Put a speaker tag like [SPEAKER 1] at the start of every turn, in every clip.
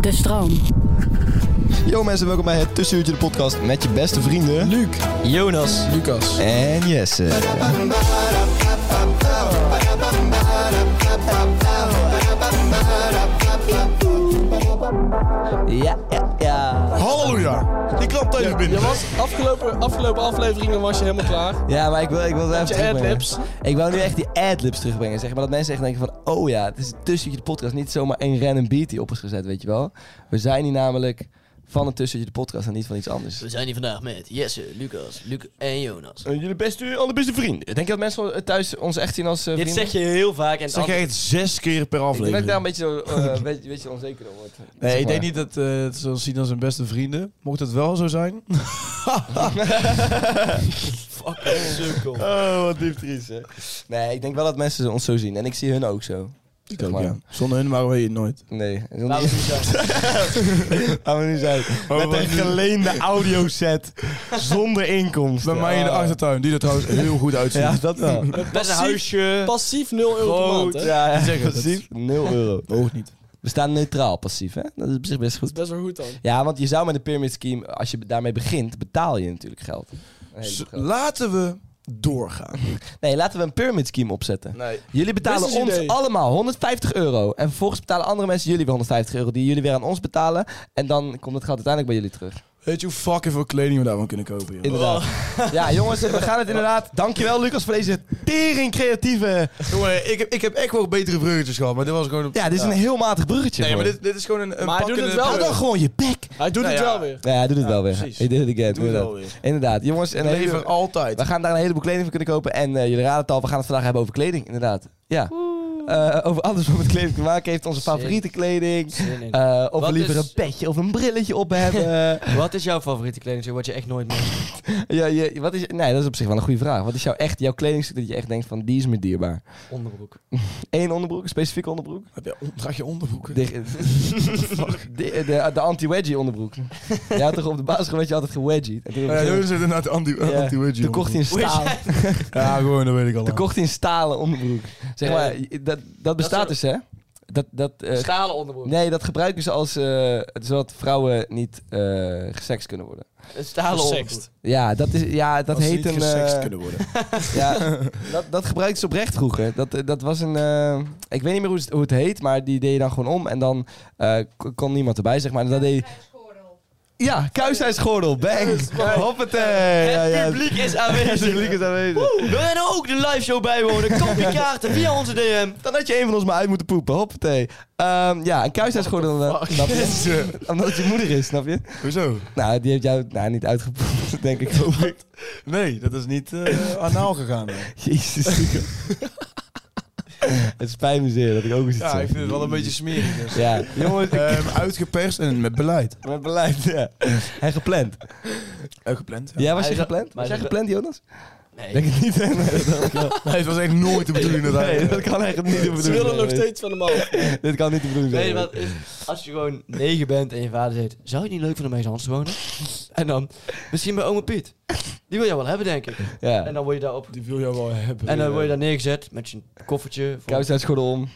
[SPEAKER 1] De stroom.
[SPEAKER 2] Yo mensen, welkom bij het Tussenuurtje de podcast met je beste vrienden... Luc, Jonas
[SPEAKER 3] Lucas.
[SPEAKER 2] en Jesse. Ja, ja, ja.
[SPEAKER 3] Halleluja. Die klap tegen binnen.
[SPEAKER 4] Je was afgelopen, afgelopen afleveringen was je helemaal klaar.
[SPEAKER 2] Ja, maar ik wil, ik wil het even
[SPEAKER 4] je
[SPEAKER 2] terugbrengen.
[SPEAKER 4] adlibs.
[SPEAKER 2] Ik wou nu echt die adlibs terugbrengen, zeg maar. Dat mensen echt denken van, oh ja, het is het Tussenuurtje de podcast. Niet zomaar een random beat die op is gezet, weet je wel. We zijn hier namelijk van het Tussenuurtje de podcast en niet van iets anders.
[SPEAKER 5] We zijn hier vandaag met Jesse, Lucas, Luc en Jonas.
[SPEAKER 2] Eh, Jullie beste, allerbeste vrienden. Denk je dat mensen eh, thuis ons echt zien als eh,
[SPEAKER 5] Dit
[SPEAKER 2] vrienden?
[SPEAKER 5] zeg je heel vaak en
[SPEAKER 3] Zeg jij het zes keer
[SPEAKER 2] Ik
[SPEAKER 3] per
[SPEAKER 2] denk dat
[SPEAKER 3] aflevering?
[SPEAKER 2] ik daar een beetje, zo, eh, een beetje, een beetje onzeker door word.
[SPEAKER 3] nee, ik denk niet dat eh, het zal zien als een beste vrienden. Mocht het wel zo zijn.
[SPEAKER 5] fucking sukkel.
[SPEAKER 2] Oh, wat diep triest, hè. Nee, ik denk wel dat mensen ons zo zien. En ik zie hun ook zo.
[SPEAKER 3] Ik
[SPEAKER 2] ook, ja.
[SPEAKER 3] Zonder hun waren we hier nooit.
[SPEAKER 2] Nee.
[SPEAKER 5] Laten we het niet zeggen.
[SPEAKER 2] Laten we nu zijn. Met een geleende audioset. Zonder inkomst.
[SPEAKER 3] Bij mij in de achtertuin, die er trouwens heel goed uitziet.
[SPEAKER 2] Ja, dat wel.
[SPEAKER 5] Passief-
[SPEAKER 3] huisje.
[SPEAKER 5] Passief 0 euro per
[SPEAKER 2] Goed.
[SPEAKER 5] maand, hè?
[SPEAKER 2] Ja, ja.
[SPEAKER 3] Zeggen, dat is-
[SPEAKER 2] passief. 0 euro.
[SPEAKER 3] Ook niet.
[SPEAKER 2] We staan neutraal passief, hè? Dat is op zich best
[SPEAKER 5] Dat is
[SPEAKER 2] goed.
[SPEAKER 5] best wel goed dan.
[SPEAKER 2] Ja, want je zou met de pyramid scheme, als je daarmee begint, betaal je natuurlijk geld. Een
[SPEAKER 3] S-
[SPEAKER 2] heleboel geld.
[SPEAKER 3] Laten we doorgaan.
[SPEAKER 2] Nee, laten we een pyramid scheme opzetten.
[SPEAKER 3] Nee.
[SPEAKER 2] Jullie betalen
[SPEAKER 5] Business
[SPEAKER 2] ons
[SPEAKER 5] idee.
[SPEAKER 2] allemaal 150 euro. En vervolgens betalen andere mensen jullie weer 150 euro. Die jullie weer aan ons betalen. En dan komt het geld uiteindelijk bij jullie terug.
[SPEAKER 3] Weet je hoe fucking veel kleding we daarvan kunnen kopen, joh?
[SPEAKER 2] Inderdaad. Ja, jongens, we gaan het inderdaad. Dankjewel, Lucas, voor deze tering creatieve.
[SPEAKER 3] Jongen, ik heb, ik heb echt wel betere bruggetjes gehad, maar dit was gewoon... Een...
[SPEAKER 2] Ja, dit is een heel matig bruggetje.
[SPEAKER 3] Nee, maar
[SPEAKER 2] gewoon.
[SPEAKER 3] dit, dit is gewoon een, een
[SPEAKER 5] Maar hij doet
[SPEAKER 3] pakkende
[SPEAKER 5] het wel.
[SPEAKER 2] Hou
[SPEAKER 3] brug.
[SPEAKER 2] dan gewoon je bek.
[SPEAKER 5] Hij doet
[SPEAKER 3] Nou
[SPEAKER 5] het
[SPEAKER 3] ja.
[SPEAKER 5] wel weer.
[SPEAKER 2] Ja, hij doet het
[SPEAKER 3] Ja,
[SPEAKER 2] wel weer.
[SPEAKER 3] precies.
[SPEAKER 2] He did it again.
[SPEAKER 3] Doe het
[SPEAKER 2] inderdaad.
[SPEAKER 3] wel weer.
[SPEAKER 2] Inderdaad. Jongens, en
[SPEAKER 3] Leven altijd.
[SPEAKER 2] we gaan daar een heleboel kleding voor kunnen kopen. En eh, jullie raden het al, we gaan het vandaag hebben over kleding, inderdaad. Ja. Eh, over alles wat met kleding te maken heeft. Onze
[SPEAKER 5] Zin.
[SPEAKER 2] favoriete kleding.
[SPEAKER 5] Zin in.
[SPEAKER 2] Eh, of
[SPEAKER 5] Wat
[SPEAKER 2] we liever
[SPEAKER 5] is-
[SPEAKER 2] een petje of een brilletje op hebben.
[SPEAKER 5] Wat is jouw favoriete kledingstuk wat je echt nooit meer...
[SPEAKER 2] ja, je, wat is, nee, dat is op zich wel een goede vraag. Wat is jouw, echt, jouw kledingstuk dat je echt denkt van, die is me dierbaar?
[SPEAKER 5] Onderbroek.
[SPEAKER 2] Eén onderbroek, een specifieke onderbroek?
[SPEAKER 3] Heb je, draag je onderbroeken?
[SPEAKER 2] De, de, de, de anti-wedgie onderbroek. Jij had toch op de basisschool werd je altijd gewedgied? En toen,
[SPEAKER 3] Ja, Jonas heeft inderdaad anti
[SPEAKER 2] Ja.
[SPEAKER 3] anti wedgie
[SPEAKER 2] toen kocht hij een stalen,
[SPEAKER 3] Ja, gewoon, dat weet ik al.
[SPEAKER 2] toen
[SPEAKER 3] lang.
[SPEAKER 2] kocht hij een stalen onderbroek. Zeg
[SPEAKER 5] Ja.
[SPEAKER 2] maar, dat, dat bestaat dus hè? Dat, dat, eh,
[SPEAKER 5] Stalen onderbroek.
[SPEAKER 2] nee, dat gebruiken ze als, eh, zodat vrouwen niet eh gesext kunnen worden.
[SPEAKER 5] Een stalen onderbroek.
[SPEAKER 4] Gesext.
[SPEAKER 2] Ja, dat, is, ja, dat
[SPEAKER 3] Als ze
[SPEAKER 2] heet
[SPEAKER 3] niet
[SPEAKER 2] een...
[SPEAKER 3] gesext
[SPEAKER 2] eh,
[SPEAKER 3] kunnen worden.
[SPEAKER 2] Ja, dat, dat gebruikte ze oprecht vroeger. Dat, eh, dat was een. eh, ik weet niet meer hoe het, hoe het heet, maar die deed je dan gewoon om. En dan eh, k- kon niemand erbij, zeg maar. En dat deed... Ja, kuisheidsgordel. Bang. Hoppatee. Ja, ja.
[SPEAKER 5] Het publiek is
[SPEAKER 2] Het
[SPEAKER 5] aanwezig.
[SPEAKER 2] publiek is aanwezig.
[SPEAKER 5] Wil jij nou ook de live show bijwonen? Koop je kaarten via onze DM.
[SPEAKER 2] Dan had je een van ons maar uit moeten poepen. Hoppatee. Ehm, ja, een kuisheidsgordel. eh, snap je?
[SPEAKER 3] Jezus.
[SPEAKER 2] Omdat het je moeder is, snap je?
[SPEAKER 3] Hoezo?
[SPEAKER 2] Nou, die heeft jou nou, niet uitgepoept, denk ik. hoop ik.
[SPEAKER 3] Nee, dat is niet eh anaal gegaan. hè.
[SPEAKER 2] Jezus. het spijt me zeer dat ik ook eens iets
[SPEAKER 3] Ja,
[SPEAKER 2] zeg.
[SPEAKER 3] ik vind het wel een beetje smerig. Dus.
[SPEAKER 2] Ja, jongens, ik-
[SPEAKER 3] Ehm, uitgeperst en met beleid.
[SPEAKER 2] Met beleid, ja. En gepland.
[SPEAKER 3] Uitgepland. Ja.
[SPEAKER 2] Ja, was
[SPEAKER 5] Hij
[SPEAKER 2] je
[SPEAKER 5] is-
[SPEAKER 2] gepland? Was
[SPEAKER 5] maar
[SPEAKER 2] jij
[SPEAKER 5] hij is-
[SPEAKER 2] gepland, Jonas? Denk
[SPEAKER 5] Nee.
[SPEAKER 2] het niet, hè? Nee, dat,
[SPEAKER 3] Nee, het was echt nooit de bedoeling dat hij...
[SPEAKER 2] nee, dat kan echt niet de bedoeling
[SPEAKER 5] Ze willen
[SPEAKER 2] zijn.
[SPEAKER 5] nog steeds van de man.
[SPEAKER 2] Dit kan niet de bedoeling
[SPEAKER 5] Weet je
[SPEAKER 2] zijn.
[SPEAKER 5] wat? is? Als je gewoon negen bent en je vader zegt... Zou je het niet leuk vinden om bij zijn hand te wonen? En dan... Misschien bij oma Piet. Die wil jij wel hebben, denk ik. En
[SPEAKER 2] Ja.
[SPEAKER 5] dan word je daar op.
[SPEAKER 6] Die wil jou wel hebben.
[SPEAKER 5] En dan word je daar neergezet met je koffertje. Voor...
[SPEAKER 2] Kuisheidsgordel om.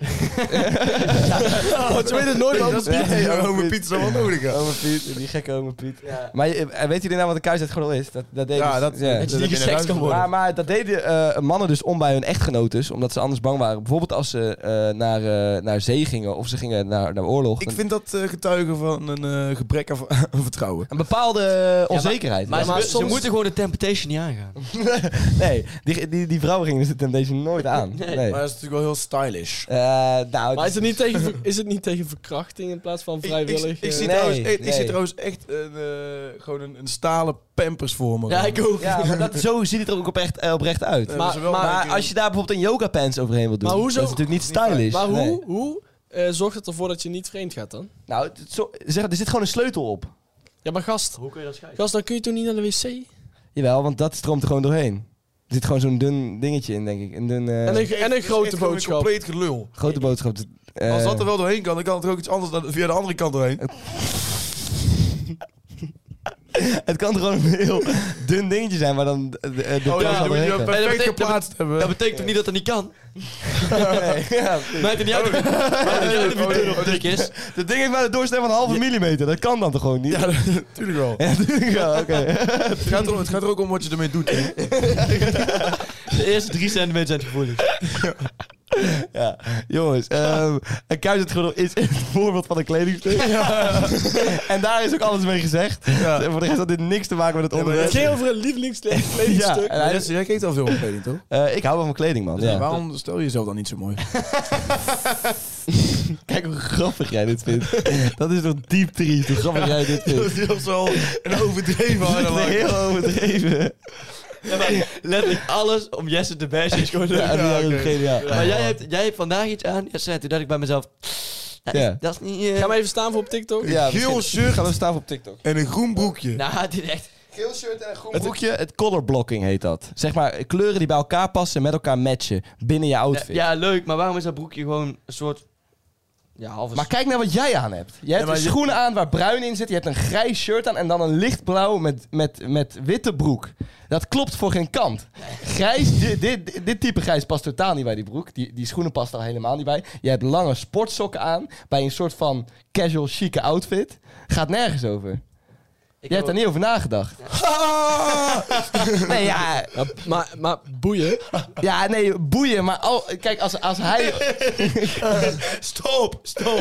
[SPEAKER 3] Oh,
[SPEAKER 6] Want je weet het nooit anders.
[SPEAKER 2] Dat is- Nee,
[SPEAKER 3] hey, ome Piet is wel wat nodig. hè.
[SPEAKER 2] Ome Piet, die gekke ome Piet.
[SPEAKER 5] Ja.
[SPEAKER 2] Maar je- en weet jullie nou wat een kuisheidsgordel is? Dat, dat deed
[SPEAKER 3] Ja,
[SPEAKER 2] dus-
[SPEAKER 3] dat-
[SPEAKER 2] ja.
[SPEAKER 3] dat-
[SPEAKER 6] Dat je niet geseks kan worden.
[SPEAKER 2] Maar, maar dat deden eh, mannen dus om bij hun echtgenotes, omdat ze anders bang waren. Bijvoorbeeld als ze eh, naar, eh, naar zee gingen of ze gingen naar, naar oorlog.
[SPEAKER 3] Ik
[SPEAKER 2] Dan-
[SPEAKER 3] vind dat eh, getuigen van een eh, gebrek aan v- aan vertrouwen.
[SPEAKER 2] Een bepaalde eh, onzekerheid.
[SPEAKER 5] Maar,
[SPEAKER 2] Ja,
[SPEAKER 5] ze, ze moeten gewoon de Temptation niet aangaan.
[SPEAKER 2] nee, die, die, die vrouwen gingen ze Temptation nooit aan. Nee.
[SPEAKER 3] Maar dat is natuurlijk wel heel stylish.
[SPEAKER 2] Eh, nou,
[SPEAKER 4] Maar is het, niet tegen, ver- is het niet tegen verkrachting in plaats van vrijwillig?
[SPEAKER 3] Ik, ik, ik
[SPEAKER 4] eh,
[SPEAKER 3] zie
[SPEAKER 2] Nee,
[SPEAKER 3] trouwens, ik, ik
[SPEAKER 2] nee.
[SPEAKER 3] zie trouwens echt een, eh, gewoon een, een stalen pampers voor me.
[SPEAKER 5] Ja, ik ook.
[SPEAKER 2] Ja, maar dat, zo ziet het er ook oprecht, eh, oprecht uit.
[SPEAKER 3] Eh,
[SPEAKER 2] maar
[SPEAKER 3] dat is wel een
[SPEAKER 2] maar
[SPEAKER 3] keer-
[SPEAKER 2] als je daar bijvoorbeeld een yoga pants overheen wilt doen,
[SPEAKER 4] Maar hoezo?
[SPEAKER 2] dat is natuurlijk niet stylish.
[SPEAKER 4] Maar hoe,
[SPEAKER 2] Nee.
[SPEAKER 4] hoe eh, zorgt het ervoor dat je niet vreemd gaat dan?
[SPEAKER 2] Nou, het- zo, zeg, er zit gewoon een sleutel op.
[SPEAKER 4] Ja, maar gast,
[SPEAKER 5] Hoe kun je dat scheiden?
[SPEAKER 4] gast, dan kun je toen niet naar de wc?
[SPEAKER 2] Jawel, want dat stroomt er gewoon doorheen. Er zit gewoon zo'n dun dingetje in, denk ik. Een dun, eh,
[SPEAKER 4] En een,
[SPEAKER 3] Het is
[SPEAKER 4] en een
[SPEAKER 3] echt
[SPEAKER 4] grote
[SPEAKER 3] gewoon
[SPEAKER 4] boodschap.
[SPEAKER 3] Een compleet gelul.
[SPEAKER 2] grote boodschap. Eh,
[SPEAKER 3] Als dat er wel doorheen kan, dan kan het er ook iets anders dan via de andere kant doorheen.
[SPEAKER 2] Het kan gewoon een heel dun dingetje zijn, maar dan eh, de, eh, de
[SPEAKER 3] Oh
[SPEAKER 2] pers
[SPEAKER 3] ja, dan moet je
[SPEAKER 2] doorheen
[SPEAKER 3] hem
[SPEAKER 2] gaat.
[SPEAKER 5] dat
[SPEAKER 3] perfect
[SPEAKER 5] betekent-
[SPEAKER 3] geplaatst hebben.
[SPEAKER 5] Dat betekent toch niet dat dat niet kan?
[SPEAKER 2] Nee, ja, precies.
[SPEAKER 5] Maakt het niet uit
[SPEAKER 4] Oh.
[SPEAKER 2] oh,
[SPEAKER 5] of maakt het niet uit of je dun of dik is.
[SPEAKER 2] Dat ding heeft maar een doorsnee van een halve millimeter. Dat kan dan toch gewoon niet?
[SPEAKER 3] Ja, natuurlijk wel.
[SPEAKER 2] Ja, natuurlijk wel, oké.
[SPEAKER 3] het, gaat er, het gaat er ook om wat je ermee doet. hè.
[SPEAKER 5] De eerste drie centimeter zijn het gevoelig.
[SPEAKER 2] Ja, jongens, ehm, een kuisendgordel is een voorbeeld van een kledingstuk. en daar is ook alles mee gezegd. Dus
[SPEAKER 3] Ja.
[SPEAKER 2] Voor de rest had dit niks te maken met het
[SPEAKER 3] maar
[SPEAKER 4] Het
[SPEAKER 2] onderwerp.
[SPEAKER 4] ging over een lievelingskledingstuk.
[SPEAKER 2] Ja, en hij
[SPEAKER 3] Jesse, jij kijkt al veel op kleding, toch?
[SPEAKER 2] Eh, ik hou wel van kleding, man.
[SPEAKER 3] Dus
[SPEAKER 2] Ja.
[SPEAKER 3] Waarom stel je jezelf dan niet zo mooi?
[SPEAKER 2] Kijk hoe grappig jij dit vindt. Dat is toch diep triest, hoe grappig jij dit vindt.
[SPEAKER 3] is wel een overdreven
[SPEAKER 2] Dat is heel overdreven.
[SPEAKER 5] Ja, maar letterlijk alles om Jesse te bashen is gewoon leuk.
[SPEAKER 2] Ja,
[SPEAKER 3] Ja,
[SPEAKER 2] dat is
[SPEAKER 3] oké.
[SPEAKER 2] geniaal.
[SPEAKER 5] Maar jij hebt, jij hebt vandaag iets aan. Ja, zei, toen dacht ik bij mezelf, dat is,
[SPEAKER 2] Ja.
[SPEAKER 5] dat is niet... eh,
[SPEAKER 4] Ga maar even staan voor op TikTok.
[SPEAKER 2] Ja,
[SPEAKER 3] Geel
[SPEAKER 2] misschien-
[SPEAKER 3] shirt
[SPEAKER 2] Gaan we staan op TikTok.
[SPEAKER 3] en een groen broekje.
[SPEAKER 5] Nou, dit is echt...
[SPEAKER 2] Geel shirt en een groen broekje. Het color blocking heet dat. Zeg maar kleuren die bij elkaar passen en met elkaar matchen binnen je
[SPEAKER 5] Ja,
[SPEAKER 2] outfit.
[SPEAKER 5] ja, leuk, maar waarom is dat broekje gewoon een soort... Ja, halve...
[SPEAKER 2] Maar kijk naar wat jij aan hebt. Je hebt
[SPEAKER 3] maar
[SPEAKER 2] een
[SPEAKER 3] je-
[SPEAKER 2] schoenen aan waar bruin in zit. Je hebt een grijs shirt aan en dan een lichtblauw met, met, met witte broek. Dat klopt voor geen kant. Grijs, dit, dit, dit type grijs past totaal niet bij die broek. Die, die schoenen past al helemaal niet bij. Je hebt lange sportsokken aan bij een soort van casual chique outfit. Gaat nergens over.
[SPEAKER 5] Ik
[SPEAKER 2] Je hebt
[SPEAKER 5] wil-
[SPEAKER 2] daar niet over nagedacht. nee, ja,
[SPEAKER 4] Ja, maar, maar boeien.
[SPEAKER 2] ja, nee, boeien. Maar al, kijk, als, als hij...
[SPEAKER 3] Stop, stop.